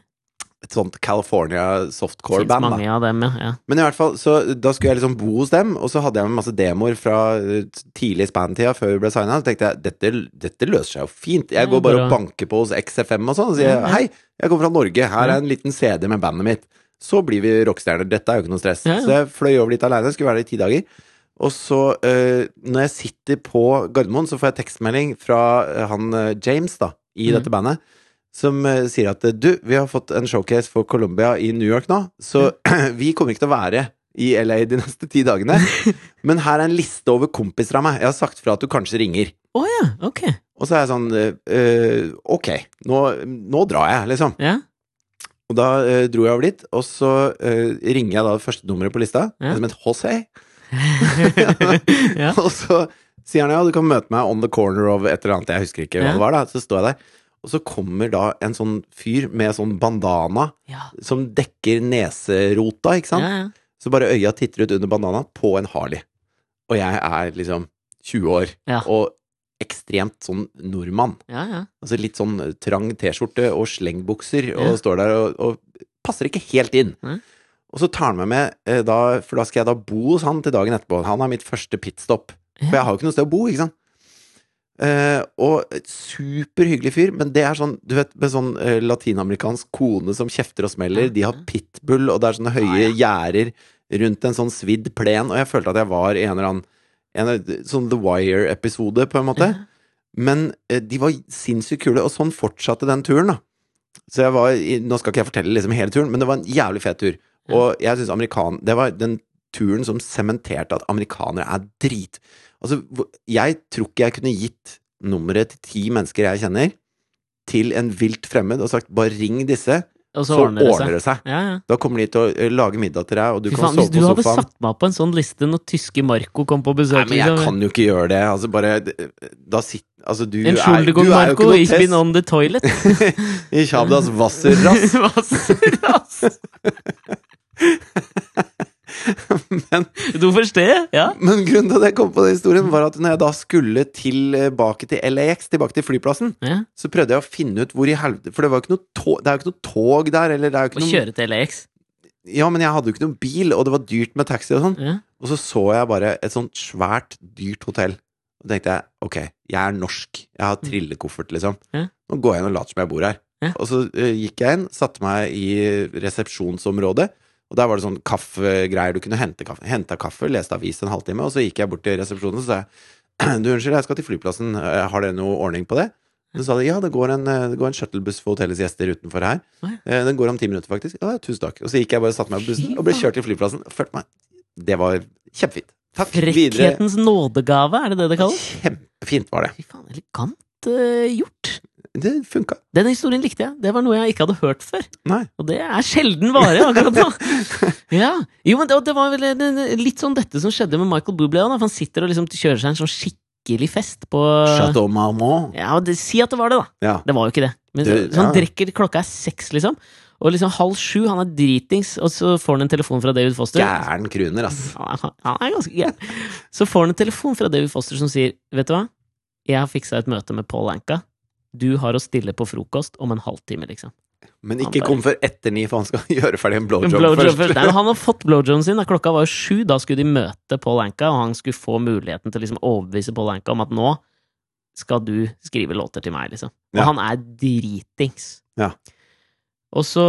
Speaker 1: Et sånt California
Speaker 2: Fins
Speaker 1: softcore-band. da.
Speaker 2: mange av dem, ja. ja.
Speaker 1: Men i hvert fall, så da skulle jeg liksom bo hos dem, og så hadde jeg med masse demoer fra eh, tidlig span-tida før vi ble signa. Så tenkte jeg dette, dette løser seg jo fint. Jeg
Speaker 2: Ja,
Speaker 1: går bare
Speaker 2: bra.
Speaker 1: og banker på hos XFM og sånn og
Speaker 2: Ja,
Speaker 1: sier
Speaker 2: ja.
Speaker 1: hei, jeg kommer fra Norge, her er en liten CD med bandet mitt. Så blir vi rockestjerner, dette er jo ikke noe stress.
Speaker 2: Ja, ja.
Speaker 1: Så jeg fløy over dit aleine, skulle være der i ti dager. Og så, eh, når jeg sitter på Gardermoen, så får jeg tekstmelding fra eh, han eh, James, da, i
Speaker 2: Mhm.
Speaker 1: dette bandet som eh, sier at eh, du, vi har fått en showcase for Colombia i New York nå, så vi kommer ikke til å være i LA de neste ti dagene. Men her er en liste over kompiser av meg. Jeg har sagt fra at du kanskje ringer.
Speaker 2: Å ja, ok.
Speaker 1: Og så er jeg sånn eh, eh, Ok, nå, nå drar jeg, liksom.
Speaker 2: Ja.
Speaker 1: Og da eh, dro jeg over dit, og så eh, ringer jeg da det første nummeret på lista,
Speaker 2: Ja.
Speaker 1: som het José.
Speaker 2: ja.
Speaker 1: Og så sier han ja, du kan møte meg on the corner of et eller annet, jeg husker ikke hva
Speaker 2: Ja.
Speaker 1: det var, da. Så står jeg der, og så kommer da en sånn fyr med sånn bandana
Speaker 2: Ja.
Speaker 1: som dekker neserota, ikke
Speaker 2: Ja,
Speaker 1: sant?
Speaker 2: ja.
Speaker 1: Så bare øya titter ut under bandanaen på en Harley. Og jeg er liksom 20 år
Speaker 2: Ja.
Speaker 1: og ekstremt sånn nordmann.
Speaker 2: ja, ja.
Speaker 1: Altså litt sånn trang T-skjorte og slengbukser,
Speaker 2: Ja.
Speaker 1: og står der og, og passer ikke helt inn.
Speaker 2: Nei.
Speaker 1: Og så tar han meg med, eh, da, for da skal jeg da bo hos han til dagen etterpå. Han er mitt første pitstop. For jeg har jo ikke noe sted å bo, ikke sant? Eh, og et superhyggelig fyr, men det er sånn du vet, med sånn eh, latinamerikansk kone som kjefter og smeller. De har pitbull, og det er sånne høye gjerder rundt en sånn svidd plen. Og jeg følte at jeg var i en eller annen en, sånn The Wire-episode, på en måte. Men eh, de var sinnssykt kule, og sånn fortsatte den turen, da. Så jeg var i, Nå skal ikke jeg fortelle liksom hele turen, men det var en jævlig fet tur. Og jeg synes amerikan... Det var den turen som sementerte at amerikanere er drit. Altså, hvor- jeg tror ikke jeg kunne gitt nummeret til ti mennesker jeg kjenner, til en vilt fremmed og sagt 'bare ring disse',
Speaker 2: Og
Speaker 1: så ordner det seg.
Speaker 2: Ja, ja.
Speaker 1: Da kommer de til å eh, lage middag til deg, og du
Speaker 2: Fy
Speaker 1: kan
Speaker 2: faen,
Speaker 1: sove
Speaker 2: hvis du
Speaker 1: på
Speaker 2: hadde
Speaker 1: sofaen.
Speaker 2: satt meg opp på en sånn liste når tyske Marco kom på besøk
Speaker 1: Nei, men jeg
Speaker 2: liksom.
Speaker 1: kan jo ikke gjøre det. Altså, bare Da sitter Altså, du
Speaker 2: En
Speaker 1: er, du er
Speaker 2: skuldergående
Speaker 1: jo
Speaker 2: Marco,
Speaker 1: ikke noe
Speaker 2: ich bin
Speaker 1: test
Speaker 2: on the toilet.
Speaker 1: i Shabdas Wasserrass.
Speaker 2: Wasserrass.
Speaker 1: Men,
Speaker 2: Du forstår? Ja.
Speaker 1: men grunnen til at jeg kom på den historien, var at når jeg da skulle tilbake til LAX, tilbake til flyplassen,
Speaker 2: ja.
Speaker 1: så prøvde jeg å finne ut hvor i helvete For det, var jo ikke noe tog, det er jo ikke noe tog der, eller det er jo
Speaker 2: Å
Speaker 1: ikke noe
Speaker 2: kjøre til LAX.
Speaker 1: Ja, men jeg hadde jo ikke noen bil, og det var dyrt med taxi og sånn.
Speaker 2: Ja.
Speaker 1: Og så så jeg bare et sånt svært, dyrt hotell. Og tenkte jeg, ok, jeg er norsk. Jeg har trillekoffert, liksom.
Speaker 2: Mm. Ja.
Speaker 1: Nå går jeg inn og later som jeg bor her.
Speaker 2: Ja.
Speaker 1: Og så eh, gikk jeg inn, satte meg i resepsjonsområdet. Og der var det sånn kaffegreier. Du kunne hente kaffe. Henta kaffe, leste avis en halvtime, og så gikk jeg bort til resepsjonen og så sa jeg du, unnskyld, jeg skal til flyplassen. Eh, Har dere noe ordning på det? Så sa de ja, det går en, eh, det går en shuttlebuss for hotellets gjester utenfor her.
Speaker 2: Å ja.
Speaker 1: Eh, Den går om ti minutter, faktisk. Ja, tusen takk. Og så gikk jeg bare og satte meg på bussen og ble kjørt til flyplassen. Følte meg Det var kjempefint. Takk. Videre.
Speaker 2: Frekkhetens nådegave, er det det det kalles?
Speaker 1: Kjempefint var det.
Speaker 2: Fy faen, elegant eh, gjort.
Speaker 1: Det funka.
Speaker 2: Den historien likte jeg. Det var noe jeg ikke hadde hørt før.
Speaker 1: Nei.
Speaker 2: Og det er sjelden vare, akkurat nå. Ja. Jo, men det, og det var vel eh, litt sånn dette som skjedde med Michael Bublé. også, da, for Han sitter og liksom kjører seg en sånn skikkelig fest på
Speaker 1: Chateau Marmont.
Speaker 2: Ja, det, Si at det var det, da.
Speaker 1: Ja.
Speaker 2: Det var jo ikke det. Men
Speaker 1: Det-
Speaker 2: så han
Speaker 1: ja.
Speaker 2: drikker, klokka er seks, liksom. Og liksom halv sju, han er dritings, og så får han en telefon fra David Foster.
Speaker 1: Gæren kruner, ass.
Speaker 2: Han er, han er ganske gæren. Så får han en telefon fra David Foster som sier, vet du hva, jeg har fiksa et møte med Paul Anka. Du har å stille på frokost om en halvtime, liksom.
Speaker 1: Men
Speaker 2: Han
Speaker 1: ikke
Speaker 2: bare-
Speaker 1: kom før etter ni, for han skal gjøre ferdig en blowjob,
Speaker 2: Blowjob
Speaker 1: først.
Speaker 2: først. Nei, men han har fått blowjoben sin. Da. Klokka var jo sju. Da skulle de møte Paul Anka, og han skulle få muligheten til å liksom overbevise Paul Anka om at nå skal du skrive låter til meg, liksom. Og
Speaker 1: Ja.
Speaker 2: han er dritings.
Speaker 1: Ja.
Speaker 2: Og så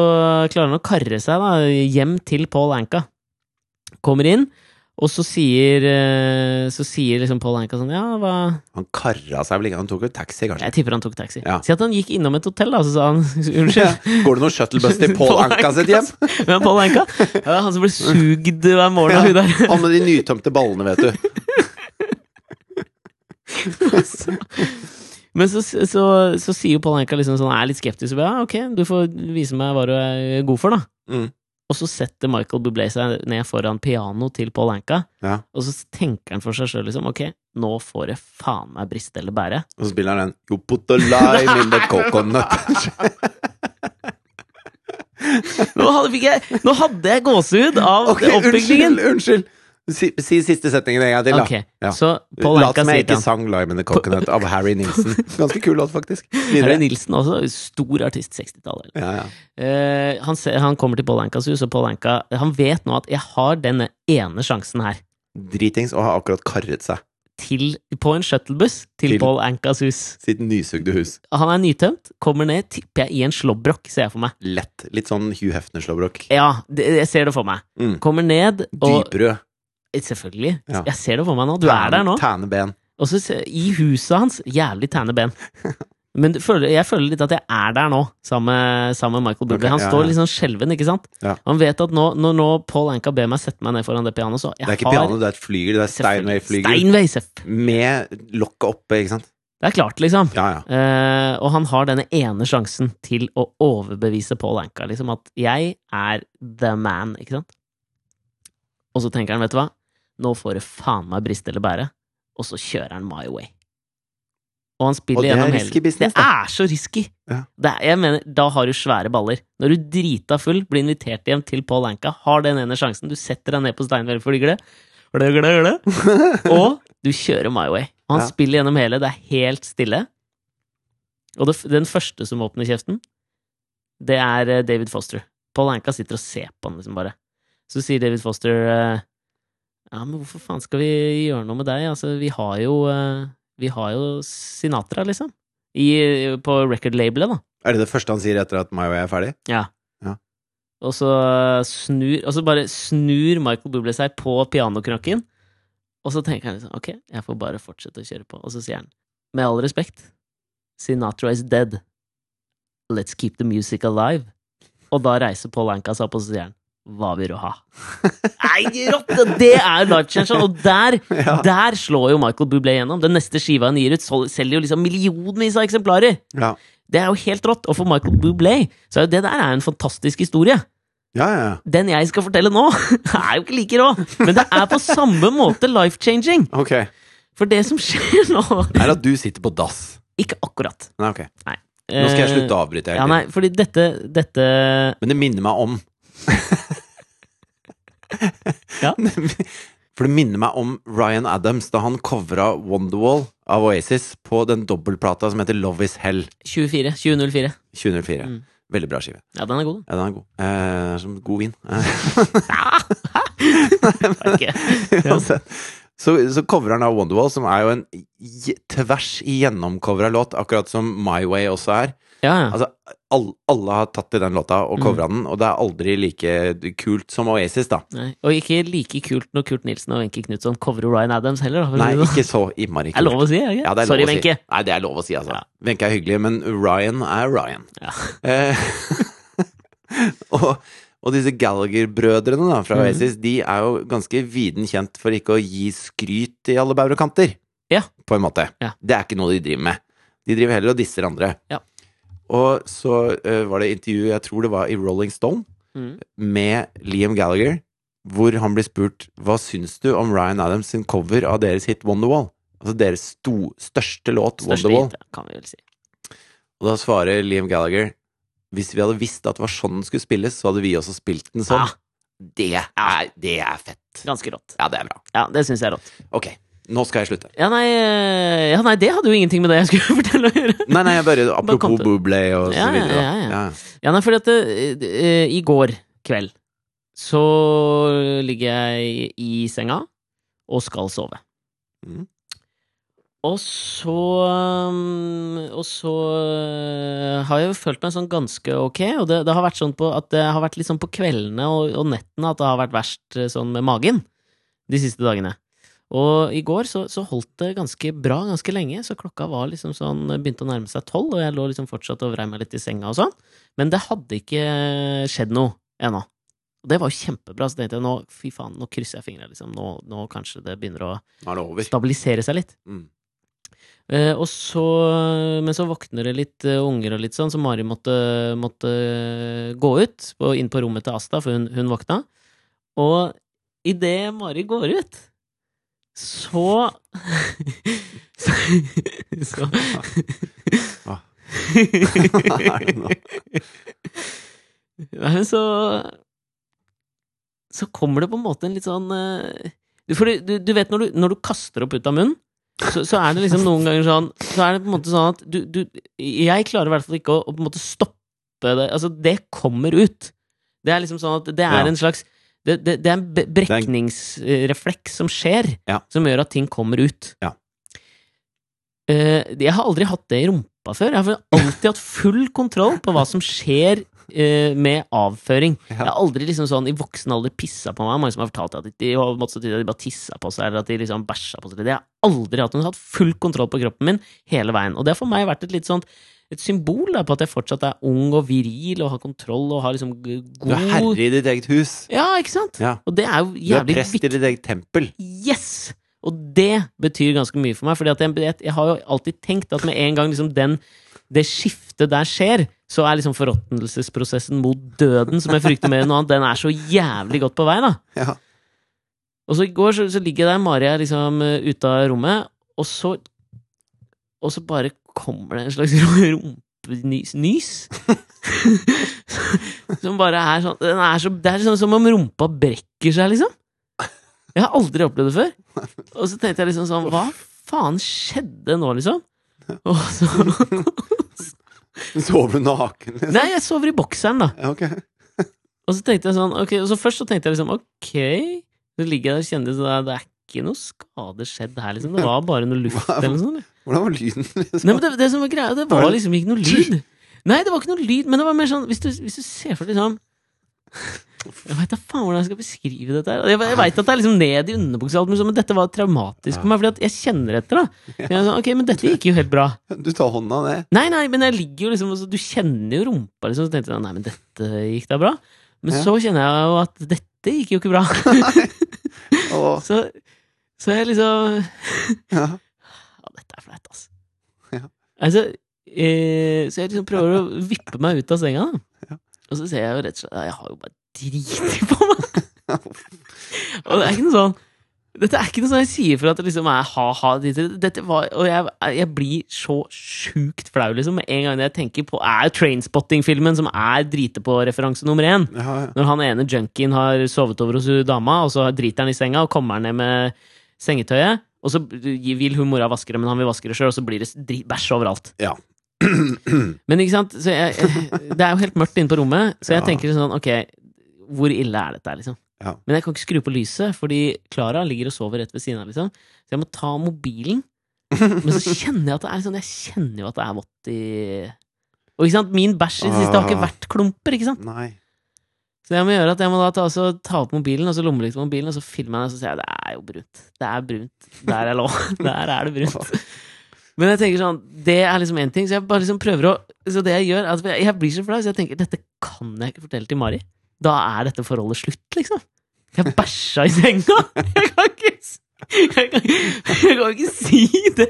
Speaker 2: klarer han å karre seg da, hjem til Paul Anka. Kommer inn, og så sier, eh, så sier liksom Paul Anka sånn Ja, hva
Speaker 1: Han karra seg vel ikke, han tok jo taxi, kanskje.
Speaker 2: Jeg tipper han tok taxi.
Speaker 1: Ja.
Speaker 2: Si at han gikk innom et hotell, da, så sa han unnskyld.
Speaker 1: Går det noen shuttlebuss til Paul Anka sitt hjem?
Speaker 2: altså. Hvem er Paul Anka? Ja, han som ble sugd hver morgen av hun der.
Speaker 1: Han med de nytømte ballene, vet du.
Speaker 2: Altså. Men så, så, så sier jo Paul Anka liksom sånn, er litt skeptisk. Og bare, ja, ok, du får vise meg hva du er god for, da.
Speaker 1: Mm.
Speaker 2: Og så setter Michael Bublé seg ned foran piano til Paul Anka,
Speaker 1: Ja.
Speaker 2: og så tenker han for seg sjøl liksom, ok, nå får jeg faen meg briste eller bære.
Speaker 1: Og så spiller han den You put the lime in the coconut.
Speaker 2: Nå hadde, fikk jeg, nå hadde jeg gåsehud av
Speaker 1: Ok,
Speaker 2: oppbyggingen!
Speaker 1: unnskyld, unnskyld. Si, si siste setningen en gang til, da.
Speaker 2: Ok,
Speaker 1: Ja.
Speaker 2: så Paul
Speaker 1: La
Speaker 2: Anka
Speaker 1: som
Speaker 2: sier
Speaker 1: jeg
Speaker 2: til
Speaker 1: ikke
Speaker 2: han
Speaker 1: sang Lime in the Coconut av Harry Nilsen. Ganske kul låt, faktisk.
Speaker 2: Harry
Speaker 1: Videre.
Speaker 2: Nilsen også, stor artist 60-tallet.
Speaker 1: Ja, ja.
Speaker 2: Eh, han, ser, han kommer til Paul Ankas hus, og Paul Anka han vet nå at jeg har denne ene sjansen her.
Speaker 1: Dritings og har akkurat karret seg.
Speaker 2: til, på en shuttlebuss til,
Speaker 1: Til-
Speaker 2: Paul Ankas hus.
Speaker 1: Sitt nysugde hus.
Speaker 2: Han er nytømt, kommer ned, tipper jeg, i en slåbrok, ser jeg for meg.
Speaker 1: Lett. Litt sånn Hugh Hefner-slåbrok.
Speaker 2: Ja, det, jeg ser det for meg.
Speaker 1: Mm.
Speaker 2: Kommer ned, og
Speaker 1: Dyprød.
Speaker 2: Eh, Selvfølgelig.
Speaker 1: Ja.
Speaker 2: Jeg ser det for meg nå. Du er der nå.
Speaker 1: Tæne ben.
Speaker 2: Og så ser- i huset hans, jævlig tanne ben. Men det føler, jeg føler litt at jeg er der nå, sammen med, sammen med Michael Bublé.
Speaker 1: Ok,
Speaker 2: han
Speaker 1: ja,
Speaker 2: står
Speaker 1: ja.
Speaker 2: litt sånn skjelven, ikke sant?
Speaker 1: Ja.
Speaker 2: Han vet at nå, når nå Paul Anka ber meg sette meg ned foran det pianoet, så jeg
Speaker 1: Det er ikke piano, det er et flygel. Det er
Speaker 2: Selvfølgelig.
Speaker 1: Steinway-flygel.
Speaker 2: Steinway, seff.
Speaker 1: Med lokket oppe, ikke sant?
Speaker 2: Det er klart, liksom.
Speaker 1: Ja, ja.
Speaker 2: Eh, og han har denne ene sjansen til å overbevise Paul Anka, liksom at 'jeg er the man', ikke sant? Og så tenker han, vet du hva, nå får det faen meg briste eller bære, og så kjører han My Way. Og han spiller
Speaker 1: Og det
Speaker 2: gjennom
Speaker 1: er
Speaker 2: hele
Speaker 1: risky business,
Speaker 2: Det er så risky!
Speaker 1: Ja.
Speaker 2: Det er, jeg mener, da har du svære baller. Når du drita full, blir invitert hjem til Paul Anka, har den ene sjansen, du setter deg ned på steinværflyglet, og du kjører My Way. Og han
Speaker 1: Ja.
Speaker 2: spiller gjennom hele, det er helt stille. Og det, f- den første som åpner kjeften, det er eh, David Foster. Paul Anka sitter og ser på han, liksom bare. Så sier David Foster eh, Ja, men hvorfor faen skal vi gjøre noe med deg? Altså, vi har jo eh, Vi har jo Sinatra, liksom. I, på record-labelet, da.
Speaker 1: Er det det første han sier etter at Mayo er ferdig?
Speaker 2: Og så eh, snur Og så bare snur Michael Bublé seg på pianokroken. Og så tenker han liksom Ok, jeg får bare fortsette å kjøre på. Og så sier han Med all respekt, Sinatra is dead. Let's keep the music alive. Og da reiser Paul Anka seg opp og så sier han Hva vil du ha? Nei, rotte! Det er life changeren! Og der,
Speaker 1: Ja.
Speaker 2: der slår jo Michael Bublé gjennom. Den neste skiva han gir ut, sol- selger jo liksom millionvis av eksemplarer!
Speaker 1: Ja,
Speaker 2: Det er jo helt rått! Og for Michael Bublé så er jo det der er jo en fantastisk historie.
Speaker 1: ja, ja. ja.
Speaker 2: Den jeg skal fortelle nå, er jo ikke like rå, men det er på samme måte life-changing.
Speaker 1: Ok. Er
Speaker 2: For det som skjer nå
Speaker 1: det at du sitter på dass?
Speaker 2: Ikke akkurat.
Speaker 1: Nei, ok. Nå skal jeg slutte å avbryte. hele
Speaker 2: Eh, Ja,
Speaker 1: tiden.
Speaker 2: nei, fordi dette, dette
Speaker 1: Men det minner meg om
Speaker 2: Ja.
Speaker 1: For det minner meg om Ryan Adams da han covra Wonderwall av Oasis på den dobbeltplata som heter Love Is Hell
Speaker 2: 24, 2004.
Speaker 1: 2004.
Speaker 2: Mm.
Speaker 1: Veldig bra skive.
Speaker 2: Ja, den er god,
Speaker 1: Ja, den er god. Eh, som god vin. Eh,
Speaker 2: den. Er det ikke?
Speaker 1: uansett. Altså, Så, så covrer han av Wonderwall, som er jo en j- tvers igjennomcovra låt, akkurat som My Way også er.
Speaker 2: Ja, ja.
Speaker 1: Altså, all, alle har tatt i den låta og
Speaker 2: Mm.
Speaker 1: covra den, og det er aldri like kult som Oasis, da.
Speaker 2: Nei. Og ikke like kult når Kurt Nilsen og Wenche Knutson coverer Ryan Adams heller. Da, for å
Speaker 1: Nei,
Speaker 2: si det sånn.
Speaker 1: ikke så innmari
Speaker 2: Det er lov å si, er
Speaker 1: Ja,
Speaker 2: det ikke?
Speaker 1: det er lov
Speaker 2: Sorry,
Speaker 1: å si.
Speaker 2: Wenche.
Speaker 1: Nei, det er lov å si, altså.
Speaker 2: Ja.
Speaker 1: Wenche er hyggelig, men Ryan er Ryan.
Speaker 2: Ja.
Speaker 1: Eh, og, og disse Gallagher-brødrene da, fra
Speaker 2: Mhm.
Speaker 1: Oasis, de er jo ganske viden kjent for ikke å gi skryt i alle bauger og kanter.
Speaker 2: Ja.
Speaker 1: På en måte.
Speaker 2: Ja.
Speaker 1: Det er ikke noe de driver med. De driver heller og disser andre.
Speaker 2: Ja.
Speaker 1: Og så eh, var det intervju, jeg tror det var i Rolling Stone,
Speaker 2: Mm.
Speaker 1: med Liam Gallagher, hvor han blir spurt hva syns du om Ryan Adams sin cover av deres hit Wonderwall? Altså deres sto, største låt,
Speaker 2: Største
Speaker 1: Wonderwall.
Speaker 2: hit, ja, kan vi vel si.
Speaker 1: Og da svarer Liam Gallagher hvis vi hadde visst at det var sånn den skulle spilles, så hadde vi også spilt den sånn.
Speaker 2: Ah.
Speaker 1: Det, er, det er fett.
Speaker 2: Ganske rått.
Speaker 1: Ja, det er bra.
Speaker 2: Ja, det syns jeg er rått.
Speaker 1: Ok, nå skal jeg slutte.
Speaker 2: Ja nei, eh, ja, nei, det hadde jo ingenting med det jeg skulle fortelle å gjøre.
Speaker 1: Nei, nei, jeg bare
Speaker 2: Bare kom
Speaker 1: apropos
Speaker 2: til-
Speaker 1: Bublé og så
Speaker 2: Ja, ja,
Speaker 1: videre. da.
Speaker 2: ja, ja. Ja, nei, fordi at eh, eh, i går kveld så ligger jeg i senga og skal sove.
Speaker 1: Mhm.
Speaker 2: Og så um, Og så eh, har jeg jo følt meg sånn ganske ok, og det, det har vært sånn på at det har vært litt sånn på kveldene og, og nettene at det har vært verst eh, sånn med magen de siste dagene. Og i går så, så holdt det ganske bra ganske lenge, så klokka var liksom sånn begynte å nærme seg tolv, og jeg lå liksom fortsatt og vrei meg litt i senga og sånn. Men det hadde ikke skjedd noe ennå. Og det var jo kjempebra, så tenkte jeg nå, fy faen, nå krysser jeg fingra, liksom. Nå, nå kanskje det begynner å
Speaker 1: Nå er det over.
Speaker 2: stabilisere seg litt.
Speaker 1: Mm.
Speaker 2: Eh, og så, men så våkner det litt eh, unger og litt sånn, så Mari måtte, måtte eh, gå ut, på, inn på rommet til Asta, for hun, hun våkna. Og idet Mari går ut, så Så, så
Speaker 1: Hva? er det nå?
Speaker 2: Nei, men så Så kommer det på en måte en litt sånn eh, du- For du, du, du vet når du, når du kaster opp ut av munnen, så, så er det liksom noen ganger sånn Så er det på en måte sånn at du, du Jeg klarer i hvert fall ikke å, å på en måte stoppe det. Altså, det kommer ut. Det er liksom sånn at det er
Speaker 1: Ja.
Speaker 2: en slags det, det, det er en be- brekningsrefleks som skjer,
Speaker 1: Ja.
Speaker 2: som gjør at ting kommer ut.
Speaker 1: Ja.
Speaker 2: Eh, jeg har aldri hatt det i rumpa før. Jeg har alltid hatt full kontroll på hva som skjer eh, med avføring.
Speaker 1: Ja.
Speaker 2: Jeg har aldri liksom sånn i voksen alder pissa på meg. Mange som har fortalt at de har måttet tyde at de bare tissa på seg, eller at de liksom bæsja på seg. Det har jeg aldri hatt. Jeg har hatt full kontroll på kroppen min hele veien. Og det har for meg vært et litt sånt et symbol da, på at jeg fortsatt er ung og viril og har kontroll og har liksom g-
Speaker 1: Du
Speaker 2: god
Speaker 1: er herre i ditt eget hus.
Speaker 2: Ja, ikke sant?
Speaker 1: Ja.
Speaker 2: Og det er jo
Speaker 1: Du er
Speaker 2: jævlig
Speaker 1: prest i ditt eget tempel.
Speaker 2: Yes! Og det betyr ganske mye for meg, for jeg, jeg, jeg har jo alltid tenkt at med en gang liksom den, det skiftet der skjer, så er liksom forråtnelsesprosessen mot døden, som jeg frykter mer enn noe annet, den er så jævlig godt på vei, da.
Speaker 1: Ja.
Speaker 2: Og så i går så, så ligger jeg der, Mari er liksom eh, ute av rommet, og så Og så bare kommer det en slags rumpenys nys. som bare er sånn den er så, Det er liksom som om rumpa brekker seg, liksom. Jeg har aldri opplevd det før. Og så tenkte jeg liksom sånn Hva faen skjedde nå, liksom? Og så,
Speaker 1: Sover du naken? liksom?
Speaker 2: nei, jeg sover i bokseren, da.
Speaker 1: Ja, ok.
Speaker 2: Og så tenkte jeg sånn, ok, og så først så tenkte jeg liksom, ok, så ligger jeg der og kjenner sånn, det er ikke noe skade skjedd her, liksom, det var bare noe luft
Speaker 1: Hva-
Speaker 2: eller noe sånt.
Speaker 1: Hvordan var lyden? Liksom?
Speaker 2: Nei, men det, det som var greia, det var liksom ikke noe lyd. Nei, det var ikke noe lyd, men det var mer sånn, hvis du, hvis du ser for deg liksom, jeg vet da faen hvordan jeg skal beskrive dette her. Jeg, jeg vet at det er liksom ned i underbuksa, og alt mulig sånn, men dette var traumatisk for meg, fordi at jeg kjenner etter da. Jeg er sånn, ok, men dette gikk jo helt bra.
Speaker 1: Du tar hånda ned.
Speaker 2: sånn, Nei, nei, men jeg ligger jo liksom altså, Du kjenner jo rumpa, liksom. Så tenkte jeg nei, men dette gikk da bra. Men
Speaker 1: Ja.
Speaker 2: så kjenner jeg jo at dette gikk jo ikke bra.
Speaker 1: Og,
Speaker 2: så, så jeg liksom
Speaker 1: ja.
Speaker 2: Ja, dette er flaut, altså.
Speaker 1: Ja.
Speaker 2: altså eh, så jeg liksom prøver å vippe meg ut av senga, da. Og så ser jeg jo rett og slett at jeg har jo bare driti på meg. og det er ikke noe sånn dette er ikke noe sånn jeg sier for at det liksom er ha-ha. Dette var, og jeg, jeg blir så sjukt flau liksom, med en gang jeg tenker på Er Trainspotting-filmen, som er drite på-referanse nummer én.
Speaker 1: Ja, ja.
Speaker 2: Når han ene junkien har sovet over hos dama, og så driter han i senga og kommer ned med sengetøyet, og så vil hun mora vaske det, men han vil vaske det sjøl, og så blir det dri- bæsj overalt.
Speaker 1: Ja.
Speaker 2: Men ikke sant, så jeg, det er jo helt mørkt inne på rommet, så jeg
Speaker 1: Ja.
Speaker 2: tenker sånn, ok, hvor ille er dette her, liksom?
Speaker 1: Ja.
Speaker 2: Men jeg kan ikke skru på lyset, fordi Klara ligger og sover rett ved siden av, liksom. Så jeg må ta mobilen. Men så kjenner jeg at det er sånn, jeg kjenner jo at det er vått i Og ikke sant, min bæsj i det siste har ikke
Speaker 1: Ah.
Speaker 2: vært klumper, ikke sant?
Speaker 1: Nei.
Speaker 2: Så jeg må gjøre at jeg må da ta, altså, ta opp mobilen, og så lommelykte på mobilen, og så filmer jeg den, og så sier jeg det er jo brunt. Det er brunt. Der er lov. Der er det brunt. Men jeg tenker sånn, det er liksom én ting, så jeg bare liksom prøver å Så det jeg gjør, er at jeg, jeg blir så flau, så jeg tenker dette kan jeg ikke fortelle til Mari. Da er dette forholdet slutt, liksom. Jeg bæsja i senga! Jeg kan ikke s- Jeg kan, jeg kan ikke si det!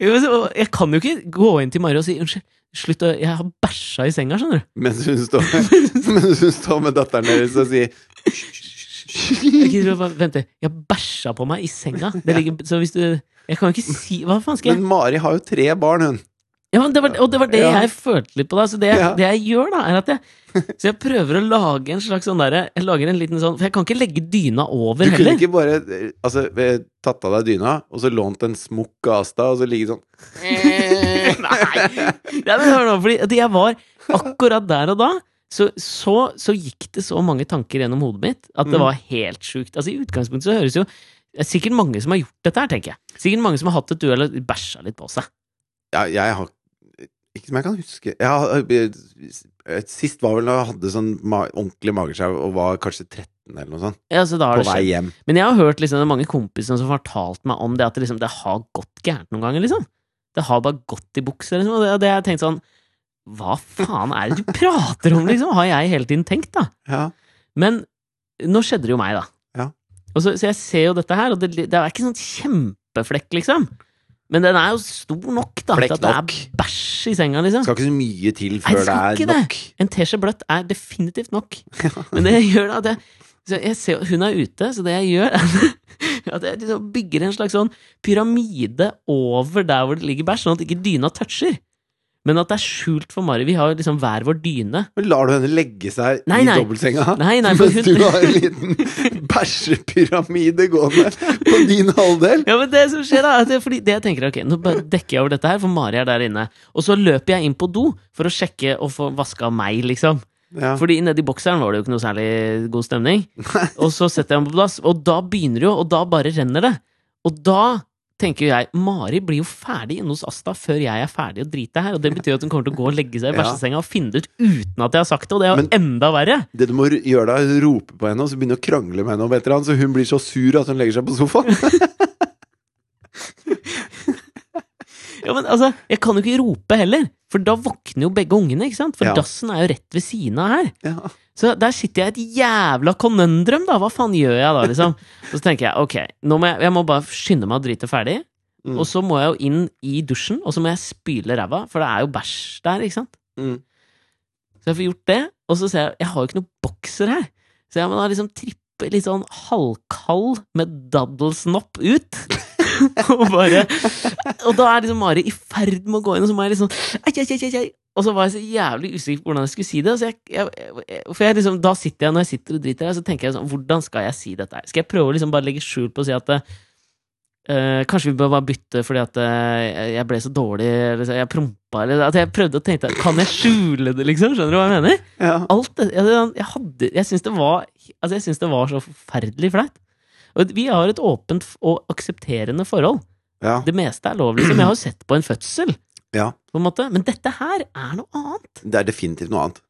Speaker 2: Jeg, jeg kan jo ikke gå inn til Mari og si unnskyld, slutt å Jeg har bæsja i senga, skjønner du.
Speaker 1: Mens hun står, mens hun står med datteren deres og sier
Speaker 2: Jeg gidder ikke å bare- Vent, litt. jeg bæsja på meg i senga. Det ligger, så hvis du Jeg kan jo ikke si Hva faen skal jeg
Speaker 1: Men Mari har jo tre barn, hun.
Speaker 2: ja, men det var, Og det var det
Speaker 1: Ja.
Speaker 2: jeg følte litt på da. Så det,
Speaker 1: Ja.
Speaker 2: det jeg gjør, da, er at jeg Så jeg prøver å lage en slags sånn derre Jeg lager en liten sånn For jeg kan ikke legge dyna over
Speaker 1: Du kunne
Speaker 2: heller.
Speaker 1: ikke bare eh, altså, eh, tatt av deg dyna, og så lånt en smokk av Asta, og så ligget sånn
Speaker 2: Nei! Ja, men hør nå, fordi at jeg var akkurat der og da. Så, så, så gikk det så mange tanker gjennom hodet mitt at det
Speaker 1: Mm.
Speaker 2: var helt sjukt. Altså, I utgangspunktet så høres jo det er Sikkert mange som har gjort dette her, tenker jeg. Sikkert mange som har hatt et duell og bæsja litt på seg.
Speaker 1: Ja, jeg har Ikke som jeg kan huske. Jeg har, eh, sist var vel da jeg hadde sånn ma ordentlig mageskjev og var kanskje 13 eller noe sånt.
Speaker 2: Ja, så da har
Speaker 1: På
Speaker 2: det
Speaker 1: vei
Speaker 2: skjedd.
Speaker 1: hjem.
Speaker 2: Men jeg har hørt liksom, det er mange kompiser som har fortalt meg om det, at det, liksom, det har gått gærent noen ganger, liksom. Det har bare gått i bukser, liksom. Og det, og det har jeg tenkt sånn Hva faen er det du prater om, liksom? Har jeg hele tiden tenkt, da.
Speaker 1: Ja.
Speaker 2: Men nå skjedde det jo meg, da.
Speaker 1: Ja.
Speaker 2: Og så, så jeg ser jo dette her, og det, det er ikke sånn kjempeflekk, liksom. Men den er jo stor nok, da.
Speaker 1: Flekk
Speaker 2: til at det
Speaker 1: nok.
Speaker 2: er bæsj i senga, liksom.
Speaker 1: Skal ikke så mye til
Speaker 2: Nei,
Speaker 1: før
Speaker 2: det
Speaker 1: det,
Speaker 2: skal
Speaker 1: er
Speaker 2: ikke det.
Speaker 1: nok.
Speaker 2: En teskje bløtt er definitivt nok. Men det jeg gjør da, at jeg, så jeg ser, hun er ute, så det jeg gjør, er at jeg liksom bygger en slags sånn pyramide over der hvor det ligger bæsj, sånn at ikke dyna toucher. Men at det er skjult for Mari. Vi har jo liksom hver vår dyne.
Speaker 1: Men lar du henne legge seg
Speaker 2: Nei, nei.
Speaker 1: i dobbeltsenga?
Speaker 2: Nei, nei, for
Speaker 1: Mens
Speaker 2: hun-
Speaker 1: du har en liten bæsjepyramide gående på din halvdel?
Speaker 2: Ja, men det som skjer da, er at det, fordi det jeg tenker, ok, nå bare dekker jeg over dette her, for Mari er der inne. Og så løper jeg inn på do for å sjekke og få vaska meg, liksom.
Speaker 1: Ja.
Speaker 2: Fordi nedi bokseren var det jo ikke noe særlig god stemning. Og så setter jeg meg på plass, og da begynner det jo, og da bare renner det. Og da tenker jo jeg Mari blir jo ferdig inne hos Asta før jeg er ferdig å drite her. Og det betyr jo at hun kommer til å gå og legge seg i
Speaker 1: Ja.
Speaker 2: bæsjesenga og finne det ut uten at jeg har sagt det, og det er jo
Speaker 1: Men-
Speaker 2: enda verre.
Speaker 1: Det du må ru- gjøre da, er å rope på henne og så begynne å krangle med henne om et eller annet, så hun blir så sur at hun legger seg på sofaen.
Speaker 2: Ja, men altså, jeg kan jo ikke rope heller, for da våkner jo begge ungene, ikke sant? For
Speaker 1: Ja.
Speaker 2: dassen er jo rett ved siden av her.
Speaker 1: Ja.
Speaker 2: Så der sitter jeg i et jævla konundrum, da! Hva faen gjør jeg da, liksom? Og så tenker jeg ok, nå må jeg, jeg må bare skynde meg å drite ferdig.
Speaker 1: Mm.
Speaker 2: Og så må jeg jo inn i dusjen, og så må jeg spyle ræva, for det er jo bæsj der, ikke sant?
Speaker 1: Mm.
Speaker 2: Så jeg får gjort det, og så ser jeg jeg har jo ikke noen bokser her. Så jeg må da liksom trippe litt sånn halvkald med daddelsnopp ut. og bare Og da er liksom Mari i ferd med å gå inn, og så må jeg liksom ai, ai, ai, ai, ai. Og så var jeg så jævlig usikker på hvordan jeg skulle si det. Så jeg, jeg, jeg, for jeg liksom, da sitter jeg når jeg sitter og driter her, så tenker jeg sånn Hvordan skal jeg si dette her? Skal jeg prøve å liksom bare legge skjul på å si at eh, kanskje vi bør bare bytte fordi at eh, jeg ble så dårlig, eller så jeg prompa, eller at jeg prøvde å tenke at Kan jeg skjule det, liksom? Skjønner du hva jeg mener?
Speaker 1: Ja.
Speaker 2: Alt det, jeg, jeg hadde Jeg syns det var Altså, jeg syns det var så forferdelig flaut. Og vi har et åpent og aksepterende forhold.
Speaker 1: Ja.
Speaker 2: Det meste er lov, liksom. Jeg har jo sett på en fødsel,
Speaker 1: ja.
Speaker 2: på en måte. Men dette her er noe annet.
Speaker 1: Det er definitivt noe annet.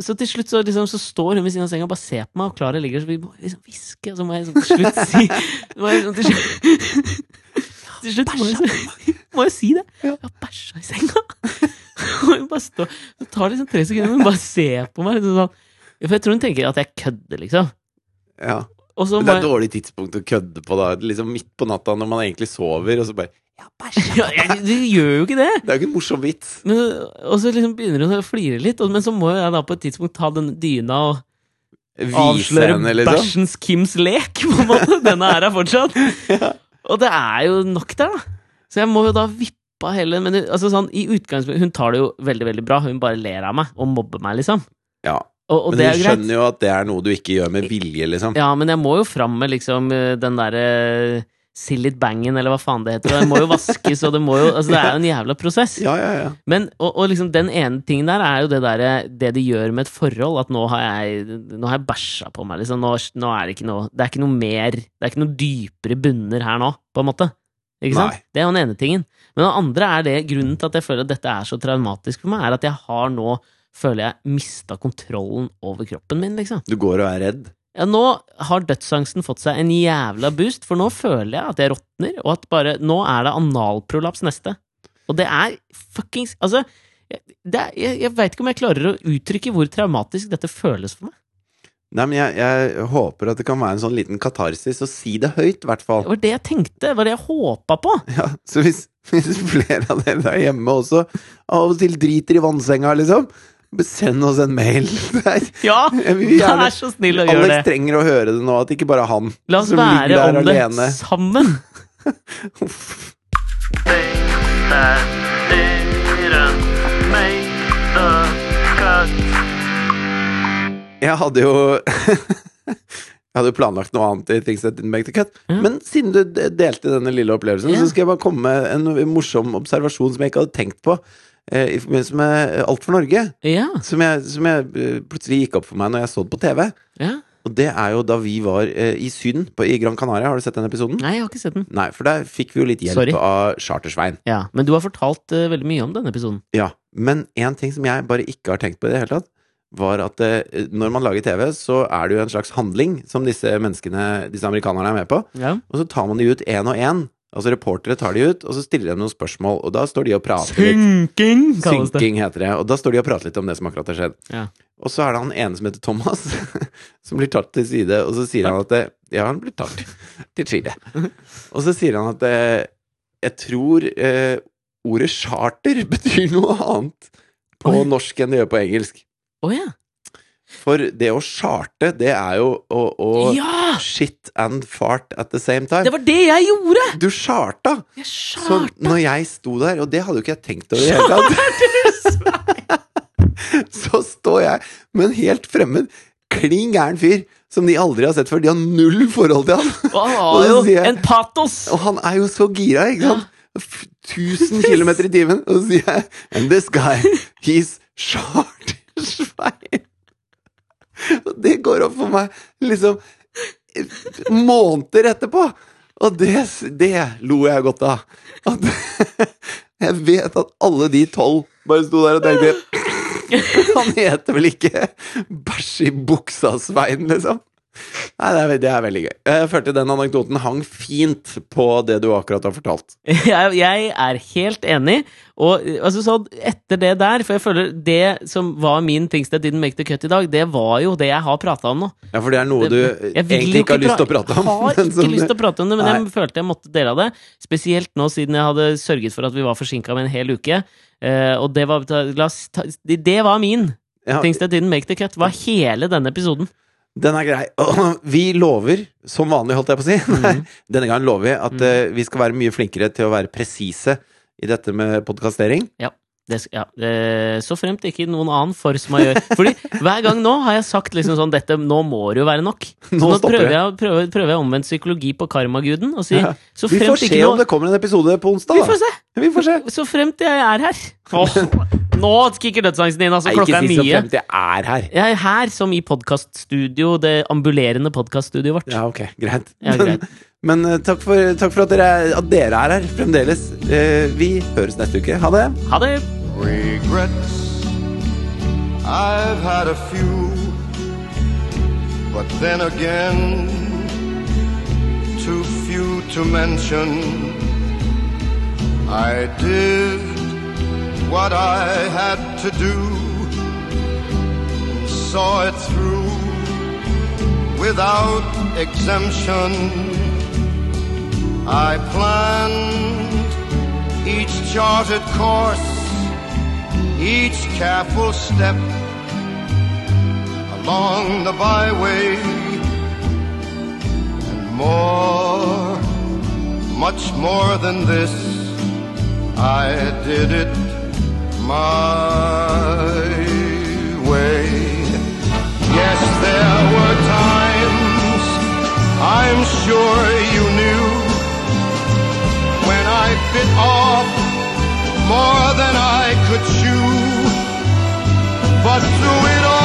Speaker 2: Så til slutt så, liksom, så står hun ved siden av senga og bare ser på meg, og Klara ligger og så vi må liksom hviske, og så må jeg liksom, til slutt si så må jeg, liksom, til, slutt, til slutt må jeg, så- må jeg si det.
Speaker 1: Ja.
Speaker 2: Jeg har bæsja i senga! Og hun bare står Det tar liksom tre sekunder, men hun bare ser på meg. Liksom sånn. Ja, For jeg tror hun tenker at jeg kødder, liksom.
Speaker 1: Ja.
Speaker 2: Og så
Speaker 1: Men det er et
Speaker 2: bare
Speaker 1: dårlig tidspunkt å kødde på, da. Liksom midt på natta når man egentlig sover, og så bare Ja, bæsja!
Speaker 2: ja, jeg, Du gjør jo ikke det!
Speaker 1: Det er jo ikke en morsom vits.
Speaker 2: Men, og så liksom begynner hun å flire litt, og, men så må jeg da på et tidspunkt ta den dyna og
Speaker 1: Vise
Speaker 2: avsløre
Speaker 1: henne, liksom.
Speaker 2: bæsjens Kims lek, på en måte. Denne er her fortsatt. Og det er jo nok der, da. Så jeg må jo da vippe av hele Men det- altså, sånn, i utgangspunktet Hun tar det jo veldig, veldig bra. Hun bare ler av meg og mobber meg, liksom.
Speaker 1: Ja.
Speaker 2: Og, og
Speaker 1: Men
Speaker 2: det er
Speaker 1: hun
Speaker 2: greit.
Speaker 1: skjønner jo at det er noe du ikke gjør med vilje, liksom.
Speaker 2: Ja, men jeg må jo fram med liksom eh, den derre eh, Sillit bangen, eller hva faen det heter. Og det må jo vaskes, og det må jo Altså, det er jo en jævla prosess.
Speaker 1: Ja, ja, ja.
Speaker 2: Men, og, og liksom den ene tingen der er jo det derre Det de gjør med et forhold, at nå har jeg Nå har jeg bæsja på meg, liksom. Nå, nå er det ikke noe Det er ikke noe mer Det er ikke noe dypere bunner her nå, på en måte. Ikke sant?
Speaker 1: Nei.
Speaker 2: Det er jo den ene tingen. Men den andre er det grunnen til at jeg føler at dette er så traumatisk for meg, er at jeg har nå Føler jeg mista kontrollen over kroppen min, liksom.
Speaker 1: Du går og er redd.
Speaker 2: Ja, nå har dødsangsten fått seg en jævla boost, for nå føler jeg at jeg råtner, og at bare Nå er det analprolaps neste. Og det er fuckings Altså, jeg- det er, jeg, jeg veit ikke om jeg klarer å uttrykke hvor traumatisk dette føles for meg.
Speaker 1: Nei, men jeg, jeg håper at det kan være en sånn liten katarsis, og si det høyt, i hvert fall.
Speaker 2: Det var det jeg tenkte, det var det jeg håpa på.
Speaker 1: Ja, så hvis, hvis flere av dere der hjemme også av og til driter i vannsenga, liksom, send oss en mail. Der.
Speaker 2: Ja!
Speaker 1: Jeg vil gjerne-
Speaker 2: Vær så snill å gjøre
Speaker 1: Alex
Speaker 2: det.
Speaker 1: trenger å høre det nå, at ikke bare han
Speaker 2: La oss
Speaker 1: som ligger
Speaker 2: være
Speaker 1: der
Speaker 2: om det
Speaker 1: alene.
Speaker 2: sammen.
Speaker 1: Jeg hadde jo Jeg hadde jo planlagt noe annet i Things That Didn't Make The Cut.
Speaker 2: Ja.
Speaker 1: Men siden du de- delte denne lille opplevelsen,
Speaker 2: Ja.
Speaker 1: så skal jeg bare komme med en morsom observasjon som jeg ikke hadde tenkt på eh, i forbindelse med Alt for Norge.
Speaker 2: Ja.
Speaker 1: Som, jeg, som jeg eh, plutselig gikk opp for meg når jeg så det på TV.
Speaker 2: ja.
Speaker 1: Og det er jo da vi var eh, i Syden, på, i Gran Canaria. Har du sett den episoden?
Speaker 2: Nei, jeg har ikke sett den.
Speaker 1: Nei, for der fikk vi jo litt hjelp
Speaker 2: Sorry.
Speaker 1: av Chartersvein.
Speaker 2: Ja, Men du har fortalt eh, veldig mye om denne episoden.
Speaker 1: Ja, Men én ting som jeg bare ikke har tenkt på i det hele tatt, var at eh, når man lager TV, så er det jo en slags handling som disse menneskene, disse amerikanerne er med på.
Speaker 2: Ja.
Speaker 1: Og så tar man de ut én og én. Altså reportere tar de ut, og så stiller de noen spørsmål. Og da står de og prater litt.
Speaker 2: Synking, kalles det.
Speaker 1: Synking heter det. Og da står de og prater litt om det som akkurat har skjedd.
Speaker 2: Ja.
Speaker 1: Og så er det han ene som heter Thomas, som blir tatt til side, og så sier han at det, Ja, han blir tatt til side. Og så sier han at eh, Jeg tror eh, ordet charter betyr noe annet på
Speaker 2: Oi.
Speaker 1: norsk enn det gjør på engelsk.
Speaker 2: Å ja.
Speaker 1: For det å charte, det er jo å, å
Speaker 2: Ja!
Speaker 1: shit and fart at the same
Speaker 2: Det
Speaker 1: time.
Speaker 2: var det jeg gjorde!
Speaker 1: Du charta!
Speaker 2: Jeg
Speaker 1: Så
Speaker 2: skjarte
Speaker 1: når jeg sto der, og det hadde jo ikke jeg tenkt over i det hele tatt Så står jeg med en helt fremmed, klin gæren fyr som de aldri har sett før. De har null forhold til han.
Speaker 2: Å,
Speaker 1: så
Speaker 2: jo,
Speaker 1: sier jeg-
Speaker 2: En patos!
Speaker 1: Og han er jo så gira, ikke sant? F- 1000 km i timen. Og så sier jeg And this guy, he's chartersveien. Og det går opp for meg liksom måneder etterpå. Og det, s- det lo jeg godt av. At, jeg vet at alle de tolv bare sto der og tenkte Han heter vel ikke Bæsj i buksa-Svein, liksom? Nei, det er, ve- det er veldig gøy. Jeg følte den anekdoten hang fint på det du akkurat har fortalt.
Speaker 2: Jeg, jeg er helt enig. Og eh, altså, sånn, etter det der For jeg føler det som var min things that didn't make the cut i dag, det var jo det jeg har prata om nå.
Speaker 1: Ja, for det er noe
Speaker 2: Det-
Speaker 1: du
Speaker 2: Jeg vil
Speaker 1: egentlig
Speaker 2: jo
Speaker 1: ikke har lyst til å
Speaker 2: pra-
Speaker 1: prate om.
Speaker 2: Har
Speaker 1: men
Speaker 2: ikke
Speaker 1: som-
Speaker 2: lyst til å prate om det, men jeg
Speaker 1: Nei.
Speaker 2: følte jeg måtte dele av det. Spesielt nå siden jeg hadde sørget for at vi var forsinka med en hel uke. Eh, og det var, la oss ta, det var min
Speaker 1: Ja,
Speaker 2: things that didn't make the cut. Var hele denne episoden.
Speaker 1: Den er grei. Vi lover, som vanlig, holdt jeg på å si. Nei,
Speaker 2: Mhm.
Speaker 1: Denne gangen lover vi at eh, vi skal være mye flinkere til å være presise i dette med podkastering.
Speaker 2: Det, sk- ja, eh, så fremt ikke noen annen for som jeg gjør. Fordi hver gang nå har jeg sagt liksom sånn dette, Nå må det jo være nok. Så
Speaker 1: Nå
Speaker 2: nå
Speaker 1: stopper
Speaker 2: prøver
Speaker 1: det.
Speaker 2: jeg, prøver, prøver jeg omvendt psykologi på karmaguden og sier
Speaker 1: Ja.
Speaker 2: så
Speaker 1: Vi får
Speaker 2: fremt
Speaker 1: se
Speaker 2: ikke
Speaker 1: om
Speaker 2: noe
Speaker 1: det kommer en episode på onsdag,
Speaker 2: Vi
Speaker 1: da.
Speaker 2: får se!
Speaker 1: Vi får se.
Speaker 2: Så fremt jeg er her. Åh, nå kicker dødsangsten inn, altså.
Speaker 1: Nei,
Speaker 2: Klokka
Speaker 1: ikke
Speaker 2: er
Speaker 1: si så
Speaker 2: mye.
Speaker 1: fremt jeg er her.
Speaker 2: Jeg er her som i podkaststudio, det ambulerende podkaststudioet vårt.
Speaker 1: Ja, ok, greit.
Speaker 2: Ja,
Speaker 1: Men,
Speaker 2: greit.
Speaker 1: men, eh, takk, for, takk for at dere, er- at dere er her fremdeles. Eh, Vi høres neste uke. Ha det.
Speaker 2: Ha det!
Speaker 3: Regrets, I've had a few, but then again, too few to mention. I did what I had to do, saw it through without exemption. I planned each charted course, each careful step along the byway, and more, much more than this, I did it my way. Yes, there were times I'm sure you knew when I bit off more than I could chew, but through it all.